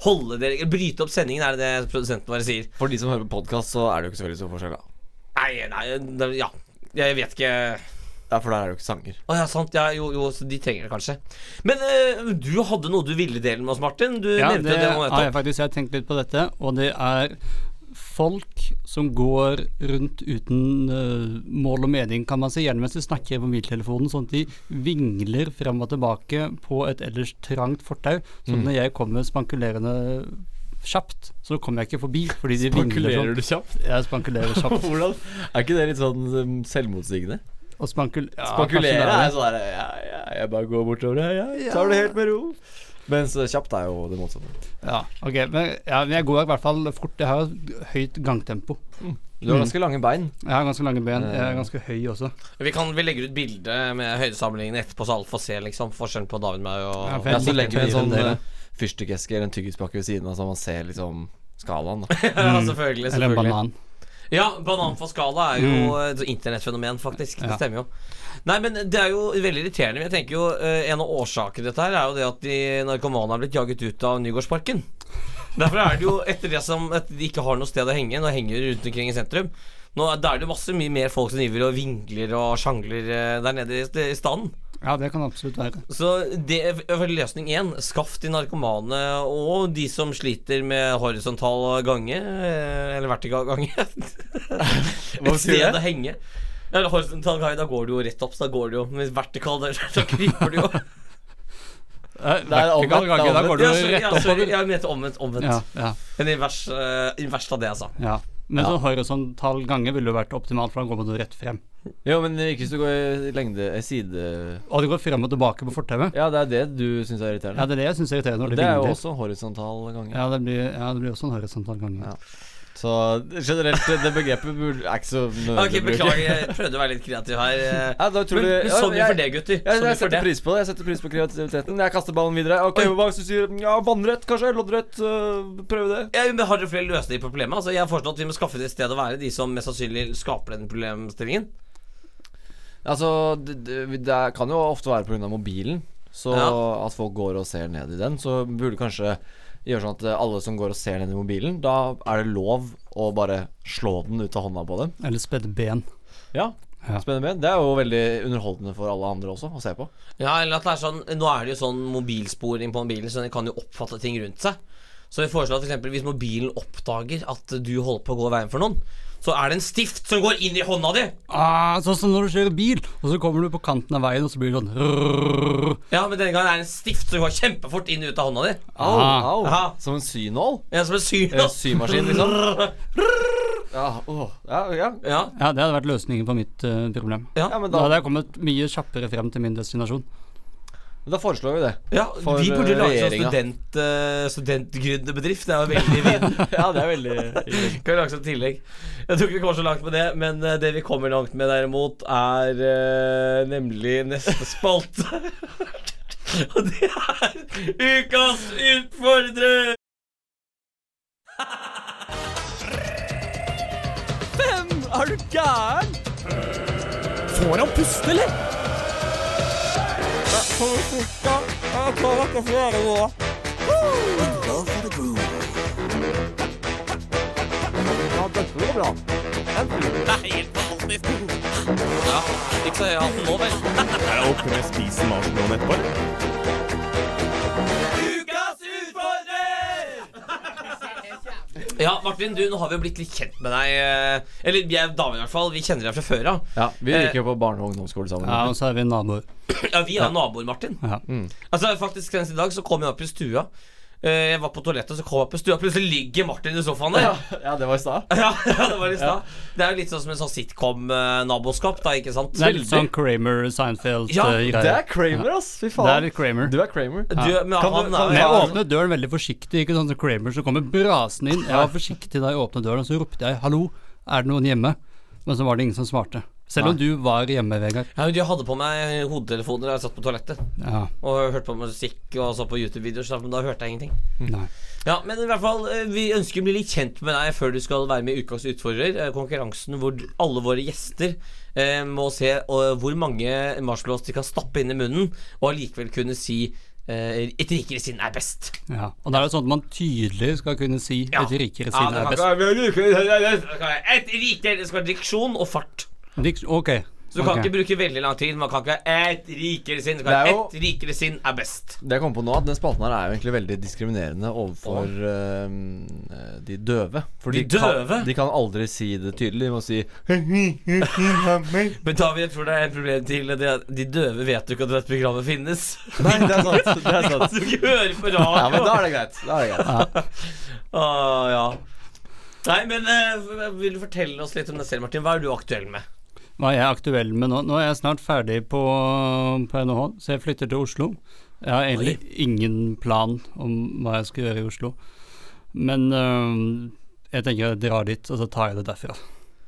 [SPEAKER 2] holde dere Bryte opp sendingen, er det det produsenten vår sier.
[SPEAKER 3] For de som hører på podkast, så er det jo ikke så veldig stor forskjell. Da.
[SPEAKER 2] Nei, nei, det- ja. Jeg vet ikke.
[SPEAKER 3] Ja, for der er det jo ikke sanger.
[SPEAKER 2] Å ja, sant. Ja, jo, jo, så de trenger det kanskje. Men eh, du hadde noe du ville dele med oss, Martin. Du
[SPEAKER 4] Ja,
[SPEAKER 2] nevnte
[SPEAKER 4] det
[SPEAKER 2] det nå
[SPEAKER 4] har jeg
[SPEAKER 2] nettopp.
[SPEAKER 4] faktisk jeg har tenkt litt på dette, og det er folk som går rundt uten eh, mål og mening, kan man si, gjerne mens de snakker i mobiltelefonen, sånn at de vingler frem og tilbake på et ellers trangt fortau. Så
[SPEAKER 3] Mm.
[SPEAKER 4] når jeg kommer spankulerende kjapt, så kommer jeg ikke forbi, fordi de vingler sånn.
[SPEAKER 3] du kjapt? [laughs]
[SPEAKER 4] Jeg spankulerer kjapt.
[SPEAKER 3] Hvordan? Er ikke det litt sånn um, selvmotsigende?
[SPEAKER 4] Og spankul ja,
[SPEAKER 3] Spankulere
[SPEAKER 4] kanskje det
[SPEAKER 3] er sånn der ja, ja, Jeg bare går bortover det, jeg tar det helt med ro. Mens eh, kjapt er jo det motsatte.
[SPEAKER 4] Ja, ok, men, ja, men jeg går i hvert fall fort. Jeg har jo høyt gangtempo.
[SPEAKER 3] Du har ganske lange bein.
[SPEAKER 4] Jeg har ganske lange ben. Jeg er ganske høy også.
[SPEAKER 2] Vi, kan, vi legger ut bilde med høydesammenligningen etterpå, så alle får se liksom forskjellen på David meg og
[SPEAKER 4] Ja, for
[SPEAKER 3] Ja,
[SPEAKER 4] jeg
[SPEAKER 3] så
[SPEAKER 4] liker
[SPEAKER 3] legger vi en
[SPEAKER 4] ikke
[SPEAKER 3] sånn
[SPEAKER 4] den delen.
[SPEAKER 3] eh, fyrstikkeske eller en tyggispakke ved siden av, så man ser liksom skalaen. da
[SPEAKER 2] [laughs] Ja, selvfølgelig.
[SPEAKER 4] Eller en
[SPEAKER 2] selvfølgelig.
[SPEAKER 4] banan.
[SPEAKER 2] Ja, banan for skala er jo et internettfenomen, faktisk. Det
[SPEAKER 4] Ja.
[SPEAKER 2] stemmer jo. Nei, men det er jo veldig irriterende. Men jeg tenker jo eh, En av årsakene til dette her er jo det at de narkomane har blitt jaget ut av Nygårdsparken. Derfor er det jo etter det som at de ikke har noe sted å henge, nå henger de rundt omkring i sentrum. Nå er da er det jo masse mye mer folk som driver og vingler og sjangler eh, der nede i i staden.
[SPEAKER 4] Ja, det kan absolutt være.
[SPEAKER 2] Så det er vel løsning én. Skaff de narkomane og de som sliter med horisontal gange, eh, eller vertikal gange, [laughs]
[SPEAKER 3] Hva
[SPEAKER 2] et
[SPEAKER 3] betyr
[SPEAKER 2] sted
[SPEAKER 3] det?
[SPEAKER 2] å henge. Eller horisontal gange, da går du jo rett opp, så da går du jo. Men vertikal, [laughs] da, da kryper du jo.
[SPEAKER 4] Vertikal
[SPEAKER 3] omvendt, det er
[SPEAKER 4] gange, da
[SPEAKER 3] omvendt.
[SPEAKER 4] går du
[SPEAKER 2] Ja, sorry,
[SPEAKER 4] rett
[SPEAKER 2] ja, sorry,
[SPEAKER 4] oppover.
[SPEAKER 2] jeg mente omvendt. omvendt.
[SPEAKER 4] Ja, ja,
[SPEAKER 2] En invers, eh, invers av det jeg sa.
[SPEAKER 4] ja. Men sånn horisontal gange ville jo vært optimalt, for da går man jo rett frem.
[SPEAKER 3] Jo, men eh, ikke hvis du går i lengde i side...
[SPEAKER 4] Og det går frem og tilbake på fortauet.
[SPEAKER 3] Ja, det er det du syns er irriterende.
[SPEAKER 4] Ja, det er det jeg syns er irriterende når
[SPEAKER 3] det,
[SPEAKER 4] de
[SPEAKER 3] er jo
[SPEAKER 4] vingler.
[SPEAKER 3] også horisontal gange.
[SPEAKER 4] Ja det, blir, ja, det blir også en horisontal gange.
[SPEAKER 3] Ja. Så generelt, eh, det begrepet burde- er ikke så nødvendig
[SPEAKER 2] Ok, Beklager, jeg prøvde å være litt kreativ her. eh.
[SPEAKER 3] [laughs] Ja, da tror
[SPEAKER 2] men,
[SPEAKER 3] du-
[SPEAKER 2] men
[SPEAKER 3] ja,
[SPEAKER 2] sorry
[SPEAKER 3] jeg-
[SPEAKER 2] for det, gutter.
[SPEAKER 3] Jeg,
[SPEAKER 2] Sorry
[SPEAKER 3] jeg
[SPEAKER 2] for
[SPEAKER 3] setter
[SPEAKER 2] det.
[SPEAKER 3] pris på det. Jeg setter pris på kreativiteten. Jeg kaster ballen videre. Ok,
[SPEAKER 2] Oi.
[SPEAKER 3] Hva hvis du sier ja, vannrett, kanskje? Loddrett? øh, prøve det.
[SPEAKER 2] Ja, men Har dere flere løsninger på problemet? Altså, jeg har foreslått at Vi må skaffe det et sted å være, de som mest sannsynlig skaper den problemstillingen.
[SPEAKER 3] Altså, det, det, det er- kan jo ofte være pga. mobilen. Så
[SPEAKER 2] Ja.
[SPEAKER 3] at folk går og ser ned i den. Så burde kanskje gjøre sånn at eh, alle som går og ser ned i mobilen, da er det lov å bare slå den ut av hånda på dem.
[SPEAKER 4] Eller spedde ben.
[SPEAKER 3] Ja.
[SPEAKER 4] Ja.
[SPEAKER 3] Spennende. ben. Det er jo veldig underholdende for alle andre også å se på.
[SPEAKER 2] Ja, eller at det er sånn Nå er det jo sånn mobilsporing på mobilen, så den kan jo oppfatte ting rundt seg. Så vi foreslår at for eksempel, hvis mobilen oppdager at du holder på å gå veien for noen, så er det en stift som går inn i hånda di!
[SPEAKER 4] Ah, sånn som når du kjører bil, og så kommer du på kanten av veien, og så blir det sånn rrrr.
[SPEAKER 2] Ja, men denne gangen er det en stift som går kjempefort inn og ut av hånda di.
[SPEAKER 3] Au,
[SPEAKER 4] Ah.
[SPEAKER 3] au.
[SPEAKER 2] Aha.
[SPEAKER 3] Som en synål.
[SPEAKER 2] Ja, som en syr,
[SPEAKER 3] Eh, Symaskin, liksom. [laughs] Ja, åh. ja, ja.
[SPEAKER 2] [laughs] Ja,
[SPEAKER 4] Ja, det hadde vært løsningen på mitt eh, problem.
[SPEAKER 2] ja.
[SPEAKER 3] ja, men
[SPEAKER 4] Da
[SPEAKER 3] da
[SPEAKER 4] hadde jeg kommet mye kjappere frem til min destinasjon.
[SPEAKER 3] Men da foreslår vi det.
[SPEAKER 2] Ja,
[SPEAKER 3] For,
[SPEAKER 2] Vi burde
[SPEAKER 3] eh,
[SPEAKER 2] lage sånn
[SPEAKER 3] regjeringen.
[SPEAKER 2] student, eh, studentgründerbedrift. Det er jo veldig viden.
[SPEAKER 3] [laughs] Ja, det er veldig
[SPEAKER 2] Kan vi lage som tillegg. Jeg tror ikke vi kommer så langt med det, men eh, det vi kommer langt med derimot, er eh, nemlig neste spalte. [laughs] Og det er Ukas utfordrer!
[SPEAKER 3] Er du gæren? Får han puste, eller?
[SPEAKER 2] Ukas utfordrer! Ja, Martin, du, nå har vi jo blitt litt kjent med deg. eh, Eller jeg, damen i hvert fall. Vi kjenner deg fra før av.
[SPEAKER 3] Ja, vi gikk jo på barne- og ungdomsskole sammen.
[SPEAKER 4] Eh, Ja, og så er vi naboer.
[SPEAKER 2] Ja, vi er naboer, Martin.
[SPEAKER 4] Ja.
[SPEAKER 2] Altså, faktisk Senest i dag så kom jeg opp i stua. Eh, Jeg var på toalettet, så kom jeg opp i stua. Plutselig ligger Martin i sofaen der.
[SPEAKER 3] [laughs] Ja, ja, det var i stad.
[SPEAKER 2] Ja, [laughs] ja, det var i stad. Det er jo litt sånn som en sånn sitcom-naboskap, da, ikke sant?
[SPEAKER 4] Det er litt sånn Kramer eh,
[SPEAKER 2] Ja,
[SPEAKER 4] Seinfeld-greier.
[SPEAKER 3] Det er Kramer, ass. Fy faen.
[SPEAKER 4] Det er litt Kramer.
[SPEAKER 3] Du er Kramer.
[SPEAKER 2] Du, men
[SPEAKER 3] Kan du-
[SPEAKER 2] han er
[SPEAKER 3] kan du-
[SPEAKER 4] Men
[SPEAKER 2] jo
[SPEAKER 4] jeg
[SPEAKER 3] Ja.
[SPEAKER 4] åpnet døren veldig forsiktig, ikke sånn som Kramer som kommer brasende inn. Jeg var forsiktig da jeg åpnet døren, og så ropte jeg 'hallo, er det noen hjemme?' Men så var det ingen som svarte. Selv om du var hjemme, Vegard.
[SPEAKER 2] ja, men Jeg hadde på meg hodetelefoner da jeg satt på toalettet
[SPEAKER 4] Ja,
[SPEAKER 2] og hørte på musikk og så på YouTube-videoer, så- men da hørte jeg ingenting.
[SPEAKER 4] Mm. nei.
[SPEAKER 2] Ja, men i hvert fall, eh, vi ønsker å bli litt kjent med deg før du skal være med i Ukas utfordrer. eh, Konkurransen hvor du- alle våre gjester eh, må se eh, hvor mange marshmallows de kan stappe inn i munnen, og allikevel kunne si eh, et rikere sinn er best.
[SPEAKER 4] Ja. Og det er jo sånn at man tydelig skal kunne si et rikere
[SPEAKER 2] Ja,
[SPEAKER 4] side
[SPEAKER 2] det
[SPEAKER 4] er
[SPEAKER 2] kan
[SPEAKER 4] best.
[SPEAKER 2] ikke være- det kan være Et rikere Det skal være diksjon og fart.
[SPEAKER 4] Dikt- Ok.
[SPEAKER 2] Så du kan
[SPEAKER 4] ok.
[SPEAKER 2] ikke bruke veldig lang tid. Man kan ikke ha et rikere sinn. Det kan
[SPEAKER 3] Det er
[SPEAKER 2] være
[SPEAKER 3] jo-
[SPEAKER 2] Et rikere sinn er best.
[SPEAKER 3] Det jeg kom på nå, at Den spalten her er jo egentlig veldig diskriminerende overfor eh, de døve. For
[SPEAKER 2] De
[SPEAKER 3] Kan,
[SPEAKER 2] døve?
[SPEAKER 3] de kan aldri si det tydelig. De må si
[SPEAKER 2] Men David, jeg tror det er et problem til. Det er at de døve vet jo ikke at dette programmet [laughs] finnes.
[SPEAKER 3] [laughs] Nei, det er sant. Det er
[SPEAKER 2] De kan
[SPEAKER 3] sant.
[SPEAKER 2] jo
[SPEAKER 4] [laughs]
[SPEAKER 2] ikke høre på
[SPEAKER 3] Ja, men da
[SPEAKER 2] radio.
[SPEAKER 3] er det greit. Da er det greit.
[SPEAKER 2] Åh, ja. Nei, men eh, vil du fortelle oss litt om deg selv, Martin? Hva er du aktuell med?
[SPEAKER 4] Hva jeg er aktuell med nå? Nå er jeg snart ferdig på, på NHH, så jeg flytter til Oslo. Jeg har egentlig ingen plan om hva jeg skal gjøre i Oslo. Men øhm, jeg tenker jeg drar dit, og så tar jeg det derfra.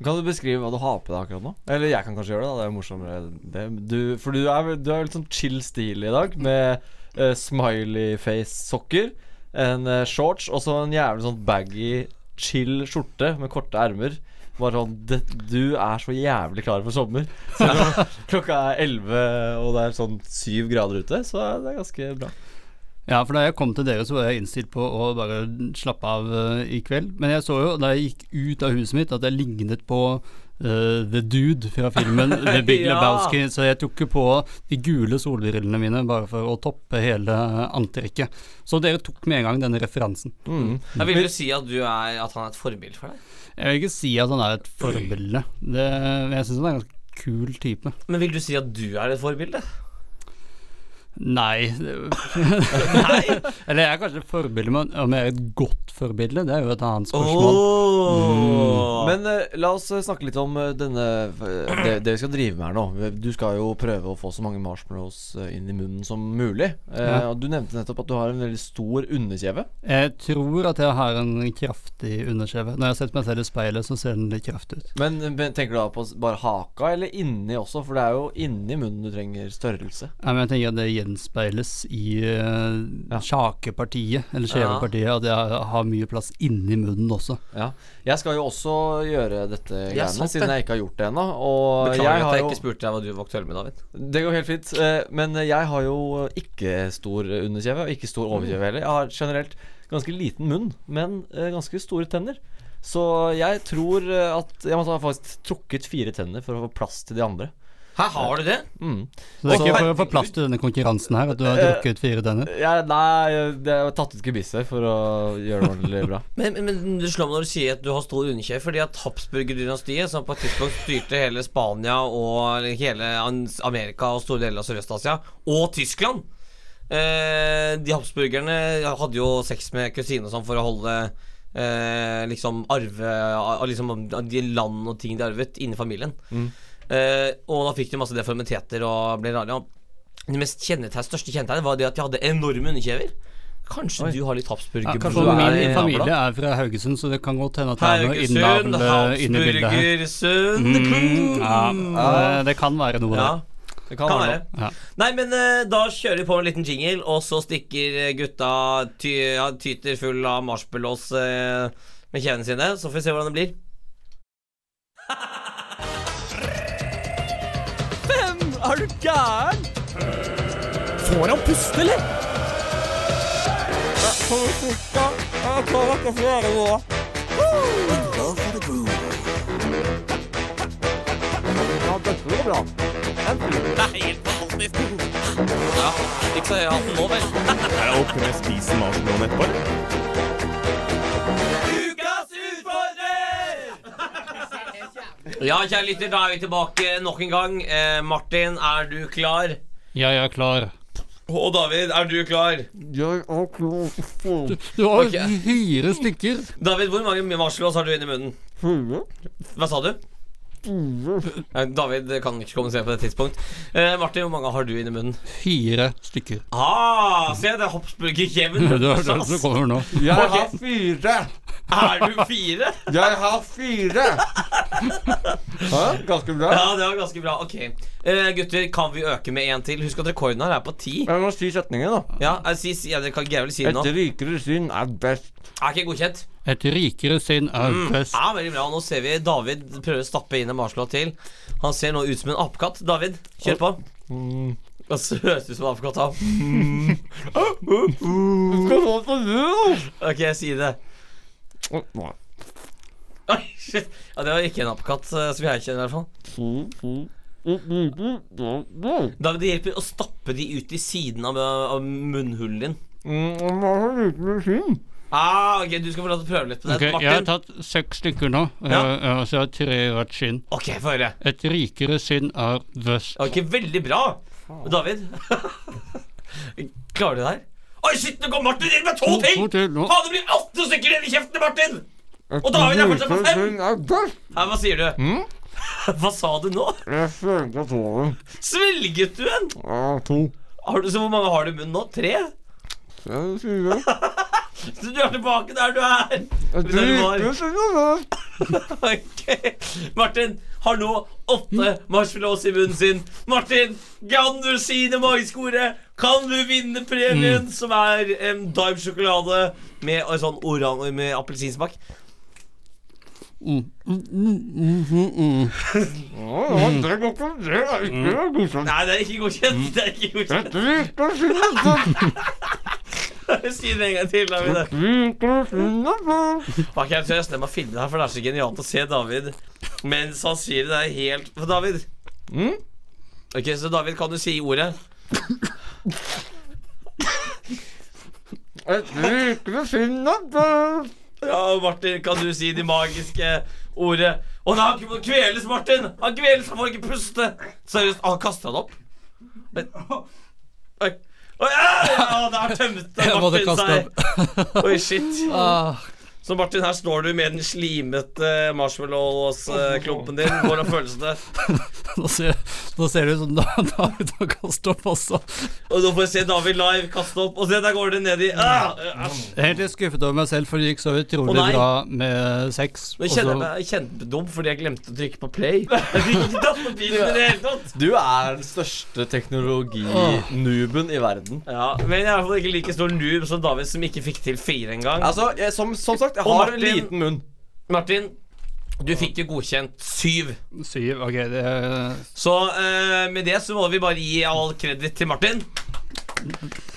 [SPEAKER 3] Kan du beskrive hva du har på deg akkurat nå? Eller jeg kan kanskje gjøre det. da, Det er jo morsommere. Det. Du, for du er, vel- du er litt sånn chill stil i dag, med eh, smiley face-sokker, en eh, shorts og så en jævlig sånn baggy, chill skjorte med korte ermer. Bare sånn det, Du er så jævlig klar for sommer. Selv om klokka er elleve og det er sånn syv grader ute, så er det ganske bra.
[SPEAKER 4] Ja, for da jeg kom til dere, så var jeg innstilt på å bare slappe av øh, i kveld. Men jeg så jo da jeg gikk ut av huset mitt, at jeg lignet på øh, The Dude fra filmen The Big
[SPEAKER 2] Ja.
[SPEAKER 4] Lebowski. Så jeg tok jo på de gule solbrillene mine bare for å toppe hele antrekket. Så dere tok med en gang denne referansen.
[SPEAKER 2] Jeg vil jo si at, du er, at han er et forbilde for deg.
[SPEAKER 4] Jeg vil ikke si at han er et forbilde. Det, men jeg syns han er en ganske kul type.
[SPEAKER 2] Men vil du si at du er et forbilde?
[SPEAKER 4] Nei. det- [laughs] Eller jeg er kanskje et forbilde, men om jeg er et godt forbilde, det er jo et annet spørsmål.
[SPEAKER 2] Oh.
[SPEAKER 3] Men eh, la oss eh, snakke litt om eh, denne eh, det, det vi skal drive med her nå. Du skal jo prøve å få så mange marshmallows eh, inn i munnen som mulig. Eh,
[SPEAKER 4] Ja.
[SPEAKER 3] og Du nevnte nettopp at du har en veldig stor underkjeve.
[SPEAKER 4] Jeg tror at jeg har en kraftig underkjeve. Når jeg har sett meg selv i speilet, så ser den litt kraftig ut.
[SPEAKER 3] Men, eh, men tenker du da på s- bare haka, eller inni også? For det er jo inni munnen du trenger størrelse.
[SPEAKER 4] Nei, men jeg tenker at det gjenspeiles i eh, sjakepartiet, eller kjevepartiet, at jeg har mye plass inni munnen også.
[SPEAKER 3] Ja. Jeg skal jo også gjøre dette
[SPEAKER 2] Ja,
[SPEAKER 3] greiene,
[SPEAKER 2] sant det.
[SPEAKER 3] siden jeg ikke har gjort det ennå. Og
[SPEAKER 2] Beklager
[SPEAKER 3] har
[SPEAKER 2] at jeg
[SPEAKER 3] jo-
[SPEAKER 2] ikke spurte deg hva du var aktuell med, David.
[SPEAKER 3] Det går helt fint. eh, Men jeg har jo ikke stor underkjeve, og ikke stor overkjeve heller. Jeg har generelt ganske liten munn, men eh, ganske store tenner. Så jeg tror eh, at Jeg måtte ha faktisk trukket fire tenner for å få plass til de andre.
[SPEAKER 2] Her har du det.
[SPEAKER 3] Mm.
[SPEAKER 4] Så det er
[SPEAKER 3] Å,
[SPEAKER 4] ikke for å få plass til denne konkurransen her, at du har drukket fire tenner.
[SPEAKER 3] Jeg, nei, jeg har tatt ut gebisset for å gjøre det ordentlig bra.
[SPEAKER 2] Men, men, men du slår meg når du sier at du har stor underkjeve, fordi at Habsburger-dynastiet, som på et tidspunkt styrte hele Spania og hele An- Amerika og store deler av Sørøst-Asia, og Tyskland eh, De habsburgerne hadde jo sex med kusine og sånn for å holde eh, liksom arve av- liksom, av de land og ting de arvet, inni familien. Eh, og da fikk de masse deformiteter og ble rare. og Det mest kjennetegn, største kjennetegnet var det at de hadde enorme underkjever. Kanskje du har litt
[SPEAKER 3] Ja,
[SPEAKER 2] Habsburger
[SPEAKER 3] kanskje
[SPEAKER 4] For
[SPEAKER 3] du er
[SPEAKER 4] min
[SPEAKER 3] i
[SPEAKER 4] familie er fra Haugesund, så det kan godt hende at det er noe
[SPEAKER 2] Haugesund,
[SPEAKER 4] innavl eh, inne i bildet her.
[SPEAKER 2] Habsburgersund
[SPEAKER 4] Mm, ja, eh, det- det kan være noe
[SPEAKER 2] Ja,
[SPEAKER 4] der.
[SPEAKER 3] Det
[SPEAKER 2] kan være.
[SPEAKER 4] Ja.
[SPEAKER 2] Nei, men eh, da kjører vi på en liten jingle, og så stikker eh, gutta ty, ja, tyter full av marshmallows eh, med kjevene sine. Så får vi se hvordan det blir. Ikke så høy hatten nå, vel?
[SPEAKER 8] Er det å kunne spise marshmallowen etterpå?
[SPEAKER 2] Ukas utfordrer! Ja, kjære lytter, da er vi tilbake nok en gang. Eh, Martin, er du klar?
[SPEAKER 4] Ja, jeg er klar.
[SPEAKER 2] Og David, er du klar?
[SPEAKER 4] Du har
[SPEAKER 2] Ok.
[SPEAKER 4] fire stykker.
[SPEAKER 2] David, hvor mange marshmallows har du inni munnen? Hva sa du? Eh, David kan ikke kommunisere på det tidspunkt. Eh, Martin, hvor mange har du inni munnen?
[SPEAKER 4] Fire stykker.
[SPEAKER 2] Ah, se, det er hoppsburgerkjeven.
[SPEAKER 4] Det er det som kommer nå.
[SPEAKER 3] Jeg
[SPEAKER 2] har
[SPEAKER 3] fire!
[SPEAKER 2] Er du fire?
[SPEAKER 3] Jeg har fire! [laughs] Hæ? Ganske bra.
[SPEAKER 2] [laughs] Ja, det var ganske bra. Ok. Eh, gutter, kan vi øke med én til? Husk at rekorden her er på ti.
[SPEAKER 3] Jeg må si setningen, da.
[SPEAKER 2] Ja, eh, si, si, ja, dere kan greier vel si det nå.
[SPEAKER 3] Et rikere sinn er best.
[SPEAKER 2] Er ikke godkjent?
[SPEAKER 4] Et rikere sinn er best.
[SPEAKER 2] Mm. Ja, veldig bra. Og Nå ser vi David prøver å stappe inn en marshmallow til. Han ser nå ut som en apekatt. David, kjør på.
[SPEAKER 4] Mm.
[SPEAKER 2] Han ser ut som en apekatt. han.
[SPEAKER 3] Skal få på lur!
[SPEAKER 2] Ok, si det. Oi, shit. Ja, det var ikke en apekatt eh, som jeg kjenner, i hvert fall. David, det hjelper å stappe de ut i siden av, av munnhulen din.
[SPEAKER 3] Mm, jeg har rikere sinn.
[SPEAKER 2] Ah, ok, Du skal få lov til å prøve litt på det.
[SPEAKER 4] Ok, jeg har
[SPEAKER 2] Martin?
[SPEAKER 4] tatt seks stykker nå,
[SPEAKER 2] Ja.
[SPEAKER 4] eh, eh, så jeg har tre i hvert skinn.
[SPEAKER 2] Ok, få høre.
[SPEAKER 4] Et rikere sinn er best.
[SPEAKER 2] Ok, veldig bra. David, [laughs] klarer du det her? Oi, shit, nå kom Martin inn med to ting!
[SPEAKER 4] to til nå.
[SPEAKER 2] Faen, det blir åtte stykker igjen i kjeften til Martin!
[SPEAKER 3] Et
[SPEAKER 2] Og David er fortsatt på
[SPEAKER 3] rikere
[SPEAKER 2] fem. Mm.
[SPEAKER 3] sinn er best.
[SPEAKER 2] Nei, hva sier du? [laughs] Hva sa du nå?
[SPEAKER 3] Jeg svelget over.
[SPEAKER 2] Svelget du en?
[SPEAKER 3] Ja, to.
[SPEAKER 2] Har du, så hvor mange har du i munnen nå? Tre?
[SPEAKER 3] Så er det fire.
[SPEAKER 2] Så du er tilbake der du er!
[SPEAKER 3] Et
[SPEAKER 2] Der du var.
[SPEAKER 3] rikere sinn er best.
[SPEAKER 2] [laughs] Ok, Martin har nå åtte marshmallows i munnen sin. Martin, kan du si det magiske Kan du vinne premien, som er en Dime sjokolade med en sånn oran med appelsinsmak?
[SPEAKER 3] [laughs] Ja, ja, det går ikke. Det er ikke godkjent. Mm.
[SPEAKER 2] Nei, det er ikke godkjent. Det er ikke godkjent.
[SPEAKER 3] Et rikere sinn er best.
[SPEAKER 2] [laughs] Si det en gang til, David.
[SPEAKER 3] Rikere sinn er best.
[SPEAKER 2] Ok, jeg tror jeg stemmer meg filmen her, for det er så genialt å se David mens han sier det. Det er helt For David
[SPEAKER 3] Mm?
[SPEAKER 2] Ok, så David, kan du si ordet?
[SPEAKER 3] Et rikere sinn er best.
[SPEAKER 2] Ja, Martin, kan du si de magiske ordet? Å nei, han kveles, Martin! Han kveles, han får ikke puste! Seriøst, han kasta det opp. Men- Oi. Oi, æ, ja, der tømte
[SPEAKER 4] [laughs] Jeg måtte
[SPEAKER 2] Martin
[SPEAKER 4] kaste Ah.
[SPEAKER 2] seg. Oi, shit.
[SPEAKER 4] [laughs]
[SPEAKER 2] Så Martin, her står du med den slimete
[SPEAKER 4] [laughs]
[SPEAKER 2] marshmallows-klumpen din. Hvordan føles det?
[SPEAKER 4] Nå ser, [laughs] nå ser det ut som da- David har kastet opp også.
[SPEAKER 2] Og nå får jeg se David live kaste opp. Og se, der går det ned i ah, Æsj.
[SPEAKER 4] Jeg er helt litt skuffet over meg selv, for det gikk så utrolig
[SPEAKER 2] Å, nei.
[SPEAKER 4] bra med seks.
[SPEAKER 2] Nå
[SPEAKER 4] og
[SPEAKER 2] kjenner
[SPEAKER 4] så-
[SPEAKER 2] jeg meg kjempedum fordi jeg glemte å trykke på play. [laughs] Jeg fikk ikke tatt på bilen i det hele tatt.
[SPEAKER 3] Du er den største teknologinooben i verden.
[SPEAKER 2] Ja, Men jeg er i hvert fall ikke like stor noob som David, som ikke fikk til fire engang.
[SPEAKER 3] Altså, jeg, som, som sagt, jeg
[SPEAKER 2] Og
[SPEAKER 3] har en
[SPEAKER 2] Martin-
[SPEAKER 3] liten munn.
[SPEAKER 2] Martin, du fikk jo godkjent syv.
[SPEAKER 4] Syv, ok, det er
[SPEAKER 2] Så eh, med det så må vi bare gi all kreditt til Martin.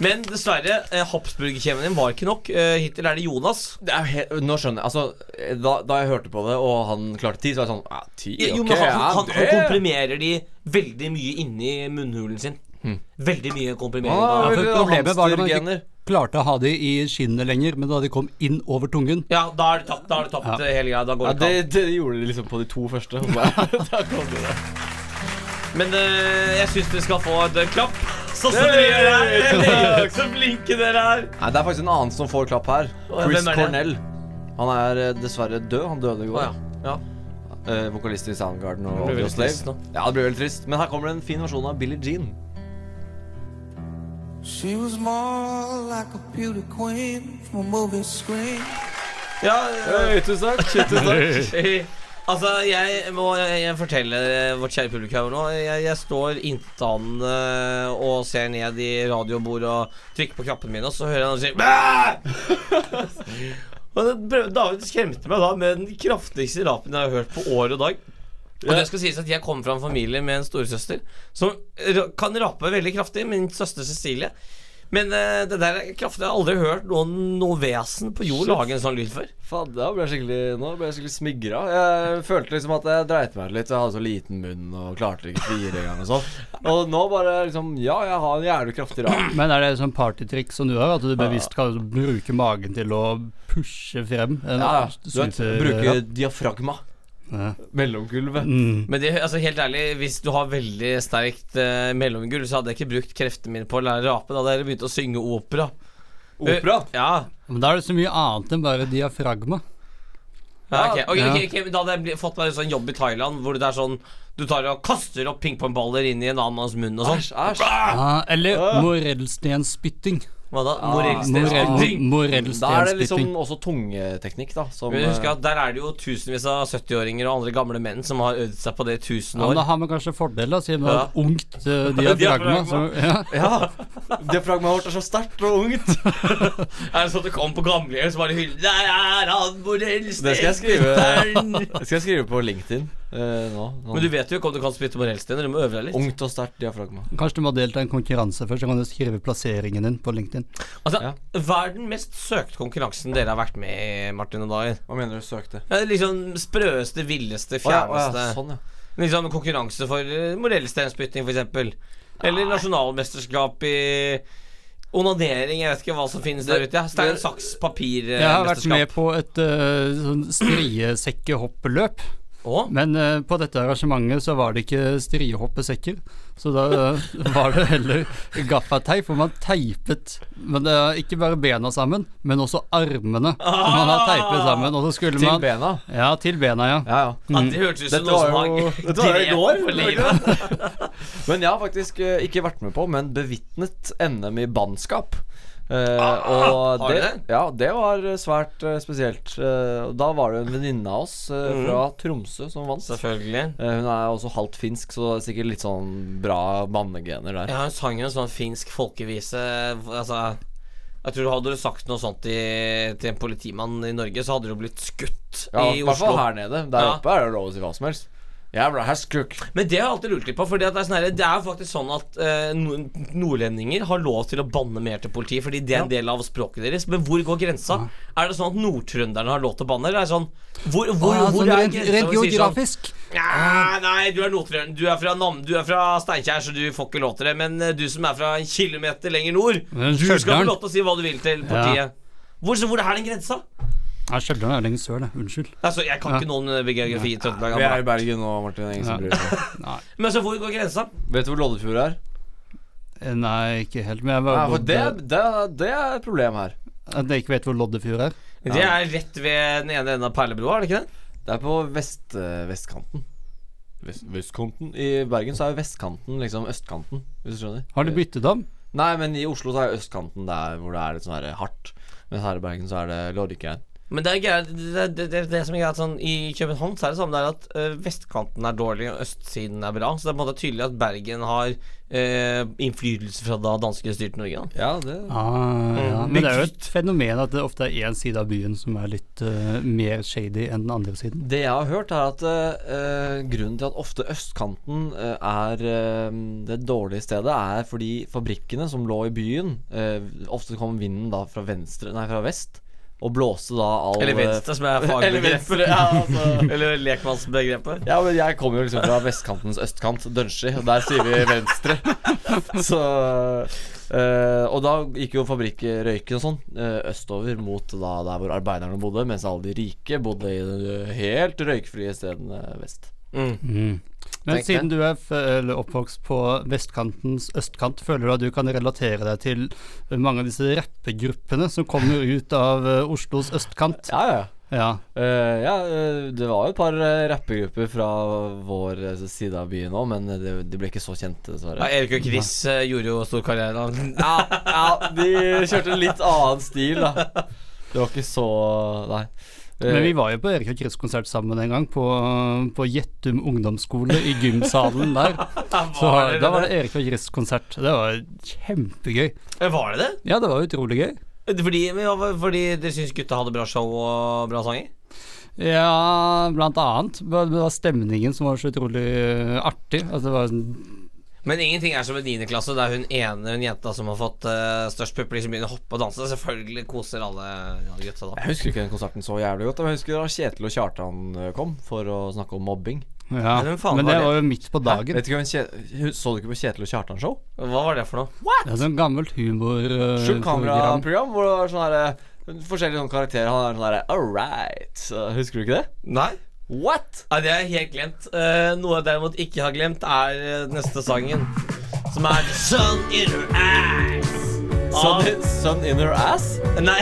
[SPEAKER 2] Men dessverre, eh, Habsburgerkjeven din var ikke nok. Eh, hittil er det Jonas.
[SPEAKER 3] Det er jo helt, nå skjønner jeg altså, da, da jeg hørte på det, og han klarte ti, så var jeg sånn ja, Ti,
[SPEAKER 2] Jo,
[SPEAKER 3] ok,
[SPEAKER 2] men han,
[SPEAKER 3] ja,
[SPEAKER 2] han, han
[SPEAKER 3] det-
[SPEAKER 2] komprimerer de veldig mye inni munnhulen sin.
[SPEAKER 3] Hmm.
[SPEAKER 2] Veldig mye komprimering.
[SPEAKER 3] Ah,
[SPEAKER 2] av-
[SPEAKER 4] for problemet var at man
[SPEAKER 3] hamstergener.
[SPEAKER 4] ikke klarte å ha de i skinnet lenger, men da de kom inn over tungen
[SPEAKER 2] Ja, da er det tapt, da er det tapt
[SPEAKER 4] Ja.
[SPEAKER 2] eh, hele greia. Da går
[SPEAKER 3] ja,
[SPEAKER 2] det
[SPEAKER 3] det,
[SPEAKER 2] tapt.
[SPEAKER 3] det gjorde de liksom på de to første. og [laughs] så- da kom det der.
[SPEAKER 2] Men eh, jeg syns dere skal få et eh, klapp. Sånn som dere
[SPEAKER 3] [laughs]
[SPEAKER 2] gjør her. Så flinke dere er.
[SPEAKER 3] Nei, det er faktisk en annen som får klapp her.
[SPEAKER 2] Å,
[SPEAKER 3] Chris
[SPEAKER 2] hvem er det?
[SPEAKER 3] Cornell. Han er eh, dessverre død. Han døde i går.
[SPEAKER 2] Å, ja.
[SPEAKER 3] Eh, vokalist i Soundgarden og
[SPEAKER 2] Det blir
[SPEAKER 3] Audio
[SPEAKER 2] veldig trist
[SPEAKER 3] Slave.
[SPEAKER 2] nå.
[SPEAKER 3] Ja, det blir veldig trist. Men her kommer det en fin versjon av Billie Jean.
[SPEAKER 9] She was more like a beauty queen from a movie screen.
[SPEAKER 2] Ja,
[SPEAKER 3] Hei, tusen [laughs] takk. Tusen takk.
[SPEAKER 2] eh, [laughs] altså, jeg må jeg, jeg fortelle vårt kjære publikum her nå. Jeg, jeg står intetanende og ser ned i radiobordet og trykker på knappene mine, og så hører jeg noen si «Bæ!» [laughs] Og det prøv- David skremte meg da med den kraftigste rapen jeg har hørt på år og dag. Og det skal sies at Jeg kommer fra en familie med en storesøster som ra- kan rape veldig kraftig. Min søster Cecilie. Men eh, det der er kraftig. Jeg har aldri hørt noen noe vesen på jord lage en sånn lyd før.
[SPEAKER 3] Faen, da ble jeg skikkelig Nå ble jeg skikkelig smigra. Jeg følte liksom at jeg dreit meg ut litt. Jeg hadde så liten munn og klarte ikke fire engang og sånn. Og nå bare liksom Ja, jeg har en jævlig kraftig rap.
[SPEAKER 4] Men er det sånn partytriks som du har, at du bevisst kan bruke magen til å pushe frem? En
[SPEAKER 3] Ja, ja. Du vet,
[SPEAKER 4] syter-
[SPEAKER 3] bruke diafragma.
[SPEAKER 4] eh, Ja.
[SPEAKER 3] Mellomgulvet.
[SPEAKER 4] Mm.
[SPEAKER 2] Men det, altså helt ærlig, hvis du har veldig sterkt eh, mellomgulv, så hadde jeg ikke brukt kreftene mine på å lære rape. Da hadde jeg begynt å synge opera.
[SPEAKER 3] Opera.
[SPEAKER 2] Eh, ja.
[SPEAKER 4] Men da er det så mye annet enn bare diafragma.
[SPEAKER 2] Ja, ok, ok,
[SPEAKER 4] Ja.
[SPEAKER 2] ok, ok, men Da hadde jeg bli- fått meg en sånn jobb i Thailand hvor det er sånn Du tar og kaster opp pingpongballer inn i en annen manns munn og sånn.
[SPEAKER 3] Æsj, æsj.
[SPEAKER 4] Ah, eller morellstenspytting.
[SPEAKER 2] Hva da?
[SPEAKER 4] Morell-
[SPEAKER 2] Morellstenspytting.
[SPEAKER 3] Da er det liksom
[SPEAKER 4] Morellstenspytting.
[SPEAKER 3] også tungeteknikk, da. Som
[SPEAKER 2] Men husk
[SPEAKER 3] eh,
[SPEAKER 2] at der er det jo tusenvis av 70-åringer og andre gamle menn som har øvd seg på det i tusen
[SPEAKER 4] Ja, men
[SPEAKER 2] år.
[SPEAKER 4] da har man kanskje fordel, da, siden man
[SPEAKER 2] Ja.
[SPEAKER 4] har et ungt eh, diafragma.
[SPEAKER 2] Diafragma.
[SPEAKER 4] Så, ja.
[SPEAKER 3] eh, Ja. Diafragmaet vårt er så sterkt
[SPEAKER 2] [laughs]
[SPEAKER 3] og ungt.
[SPEAKER 2] Er det sånn at det kom på gamlehjem som bare hyller Der er han,
[SPEAKER 3] Det skal jeg skrive.
[SPEAKER 2] morellstenspytteren!
[SPEAKER 3] [laughs] Det skal jeg skrive på LinkedIn eh, nå. nå.
[SPEAKER 2] Men du vet jo ikke om du kan spytte morellstener. Du må øve deg litt.
[SPEAKER 3] Ungt og sterkt diafragma.
[SPEAKER 4] Kanskje du må delta i en konkurranse først, så kan du skrive plasseringen din på LinkedIn.
[SPEAKER 2] Altså,
[SPEAKER 3] Ja.
[SPEAKER 2] Hva er den mest søkte konkurransen dere har vært med i, Martin og Dagen?
[SPEAKER 3] Hva mener du søkte?
[SPEAKER 2] Ja, det er liksom sprøeste, villeste,
[SPEAKER 3] Å ja, å
[SPEAKER 2] fjerneste.
[SPEAKER 3] ja, sånn, ja.
[SPEAKER 2] Liksom konkurranse for eh, morellsteinspytting, f.eks. Eller nasjonalmesterskap i onanering. Jeg vet ikke hva som finnes der ute. Ja. Stein,
[SPEAKER 3] det-
[SPEAKER 2] saks, papir. eh,
[SPEAKER 4] Jeg har vært med
[SPEAKER 2] mesterskap.
[SPEAKER 4] på et eh, sånn striesekkehoppløp.
[SPEAKER 2] Å?
[SPEAKER 4] Men eh, på dette arrangementet så var det ikke striehoppesekker, så da eh, var det heller gaffateip, hvor man teipet men, eh, ikke bare bena sammen, men også armene. Man har teipet sammen, og så skulle
[SPEAKER 3] Til
[SPEAKER 4] man
[SPEAKER 3] bena.
[SPEAKER 4] Ja, til bena, ja.
[SPEAKER 3] Ja, ja.
[SPEAKER 2] Ja, det hørtes ut som
[SPEAKER 3] Dette
[SPEAKER 2] noe som
[SPEAKER 3] var jo-
[SPEAKER 2] har
[SPEAKER 3] dette var jo i
[SPEAKER 2] grep
[SPEAKER 3] går,
[SPEAKER 2] for
[SPEAKER 3] var det ikke
[SPEAKER 2] livet.
[SPEAKER 3] Men jeg har faktisk eh, ikke vært med på, men bevitnet NM i bannskap. Eh, og
[SPEAKER 2] Ah, har du det?
[SPEAKER 3] Ja, det var eh, svært eh, spesielt. Eh, og da var det en venninne av oss eh, fra Tromsø som vant.
[SPEAKER 2] Mm. Selvfølgelig.
[SPEAKER 3] Eh, hun er også halvt finsk, så det er sikkert litt sånn bra bannegener der.
[SPEAKER 2] Ja, hun sang jo en sånn finsk folkevise Altså jeg tror Hadde du sagt noe sånt i, til en politimann i Norge, så hadde du blitt skutt
[SPEAKER 3] Ja,
[SPEAKER 2] i
[SPEAKER 3] I hvert
[SPEAKER 2] Oslo.
[SPEAKER 3] fall her nede. Der
[SPEAKER 2] Ja.
[SPEAKER 3] oppe er det lov å si hva som helst. Jævla herskuk.
[SPEAKER 2] Men det har jeg alltid lurt litt på. Fordi at det, er sånn her, det er jo faktisk sånn at eh, no- nordlendinger har lov til å banne mer til politiet, fordi det er en del av språket deres. Men hvor går grensa? Er det sånn at nordtrønderne har lov til å banne? Eller er det sånn Hvor, hvor,
[SPEAKER 4] Ah,
[SPEAKER 2] hvor
[SPEAKER 4] sånn
[SPEAKER 2] er
[SPEAKER 4] rent,
[SPEAKER 2] grensa?
[SPEAKER 4] rent
[SPEAKER 2] hvor vi sier sånn,
[SPEAKER 4] geografisk.
[SPEAKER 2] Nei, nei, du er nordtrønder. Du er fra, Nam du er fra Steinkjer, så du får ikke lov til det. Men eh, du som er fra en kilometer lenger nord,
[SPEAKER 4] Men
[SPEAKER 2] du skal få
[SPEAKER 4] Stjørdal.
[SPEAKER 2] lov til å si hva du vil til
[SPEAKER 4] Ja.
[SPEAKER 2] partiet. Hvor, så hvor er den grensa?
[SPEAKER 4] Ja, Stjørdal er lenger sør, det. Unnskyld.
[SPEAKER 2] Altså, jeg kan
[SPEAKER 4] Ja.
[SPEAKER 2] ikke noen eh, geografi i Trøndelag.
[SPEAKER 3] Vi er
[SPEAKER 2] Anna.
[SPEAKER 3] i Bergen nå, Martin. Ingen som
[SPEAKER 4] Ja.
[SPEAKER 3] bryr seg.
[SPEAKER 2] Men så hvor går grensa?
[SPEAKER 3] [laughs] Vet du hvor Loddefjord er?
[SPEAKER 4] Eh, Nei, ikke helt. Men jeg
[SPEAKER 3] Ja,
[SPEAKER 4] bare
[SPEAKER 3] for det,
[SPEAKER 4] bodde-
[SPEAKER 3] det, det er et problem her.
[SPEAKER 4] At jeg ikke vet hvor Loddefjord er.
[SPEAKER 2] Det er rett ved den ene enden av Perlebrua, er det ikke det?
[SPEAKER 3] Det er på vest, eh, vestkanten. Vest, vestkanten? I Bergen så er jo vestkanten liksom østkanten, hvis du skjønner.
[SPEAKER 4] Har du byttet om?
[SPEAKER 3] Nei, men i Oslo så er jo østkanten der hvor det er litt sånn her hardt. Mens her i Bergen så er det lorrikeien.
[SPEAKER 2] Men det er greit, det, det, det, det som er greit sånn, I København så er det samme der at eh, vestkanten er dårlig, og østsiden er bra. Så det er på en måte tydelig at Bergen har eh, innflytelse fra da danskene styrte Norge. Da.
[SPEAKER 3] Ja, det
[SPEAKER 4] Ah, ja.
[SPEAKER 3] Mm.
[SPEAKER 4] Men det er jo et fenomen at det ofte er én side av byen som er litt eh, mer shady enn den andre siden.
[SPEAKER 3] Det jeg har hørt, er at eh, eh, grunnen til at ofte østkanten eh, er eh, det dårlige stedet, er fordi fabrikkene som lå i byen eh, Ofte kom vinden da fra venstre Nei, fra vest, og blåste da all eh,
[SPEAKER 2] Eller venstre, som er
[SPEAKER 3] [laughs] Eller
[SPEAKER 2] fagbegrepet.
[SPEAKER 3] venstre, ja, altså.
[SPEAKER 2] [laughs] Eller lekmannsbegrepet.
[SPEAKER 3] Ja, men jeg kommer jo liksom fra vestkantens østkant, Dønsli, og der sier vi
[SPEAKER 2] [laughs]
[SPEAKER 3] venstre. Så eh, Og da gikk jo fabrikkrøyken og sånn eh, østover mot da der hvor arbeiderne bodde, mens alle de rike bodde i de helt røykfrie stedene vest.
[SPEAKER 4] Men
[SPEAKER 3] Tenk det.
[SPEAKER 4] siden du er f eller oppvokst på vestkantens østkant, føler du at du kan relatere deg til mange av disse rappegruppene som kommer ut av eh, Oslos østkant?
[SPEAKER 3] Ja, ja.
[SPEAKER 4] Ja.
[SPEAKER 3] Eh, ja, eh, det var jo et par eh, rappegrupper fra vår eh, side av byen òg, men eh, det, de ble ikke så kjente,
[SPEAKER 2] Ja,
[SPEAKER 3] dessverre.
[SPEAKER 2] Erik og Chris eh, gjorde jo stor karriere. da.
[SPEAKER 3] [laughs] Ja, ja, de kjørte en litt annen stil, da. Det var ikke så Nei. Eh,
[SPEAKER 4] Men vi var jo på Erik og Chris konsert sammen en gang, på, på Gjettum ungdomsskole i gymsalen
[SPEAKER 2] [laughs]
[SPEAKER 4] der. Så
[SPEAKER 2] var det
[SPEAKER 4] da var
[SPEAKER 2] det?
[SPEAKER 4] det Erik og Chris konsert. Det var kjempegøy.
[SPEAKER 2] Eh, Var det det?
[SPEAKER 4] Ja, det var utrolig gøy.
[SPEAKER 2] Eh, Fordi, men, ja, fordi dere syns gutta hadde bra show og bra sanger?
[SPEAKER 4] Ja, blant annet. Det var stemningen som var så utrolig artig. Altså, det var sånn
[SPEAKER 2] Men ingenting er som i 9. klasse, der hun ene hun jenta som har fått eh, størst pupper, liksom begynner å hoppe og danse. Selvfølgelig koser alle alle gutta da.
[SPEAKER 3] Jeg husker ikke den konserten så jævlig godt. Men jeg husker da Kjetil og Kjartan eh, kom for å snakke om mobbing.
[SPEAKER 4] Ja,
[SPEAKER 2] Men hvem faen
[SPEAKER 4] men
[SPEAKER 2] var
[SPEAKER 4] det
[SPEAKER 2] det?
[SPEAKER 4] var jo midt på dagen.
[SPEAKER 3] Vet ikke hvem Kje- Så du ikke på Kjetil og Kjartan-show?
[SPEAKER 2] Hva var det for noe?
[SPEAKER 4] Det er sånn gammelt eh,
[SPEAKER 3] Skjult
[SPEAKER 4] humorprogram.
[SPEAKER 3] kamera-program hvor det var sånn herre Forskjellige sånne karakterer. Han er sånn herre All right. Så Husker du ikke det?
[SPEAKER 2] Nei?
[SPEAKER 3] What?
[SPEAKER 2] Nei, det er helt glemt. Eh, noe jeg derimot ikke har glemt, er eh, neste sangen. Som er Sun in her ass.
[SPEAKER 3] Sun,
[SPEAKER 2] Av,
[SPEAKER 3] i- sun in her ass?
[SPEAKER 2] nei,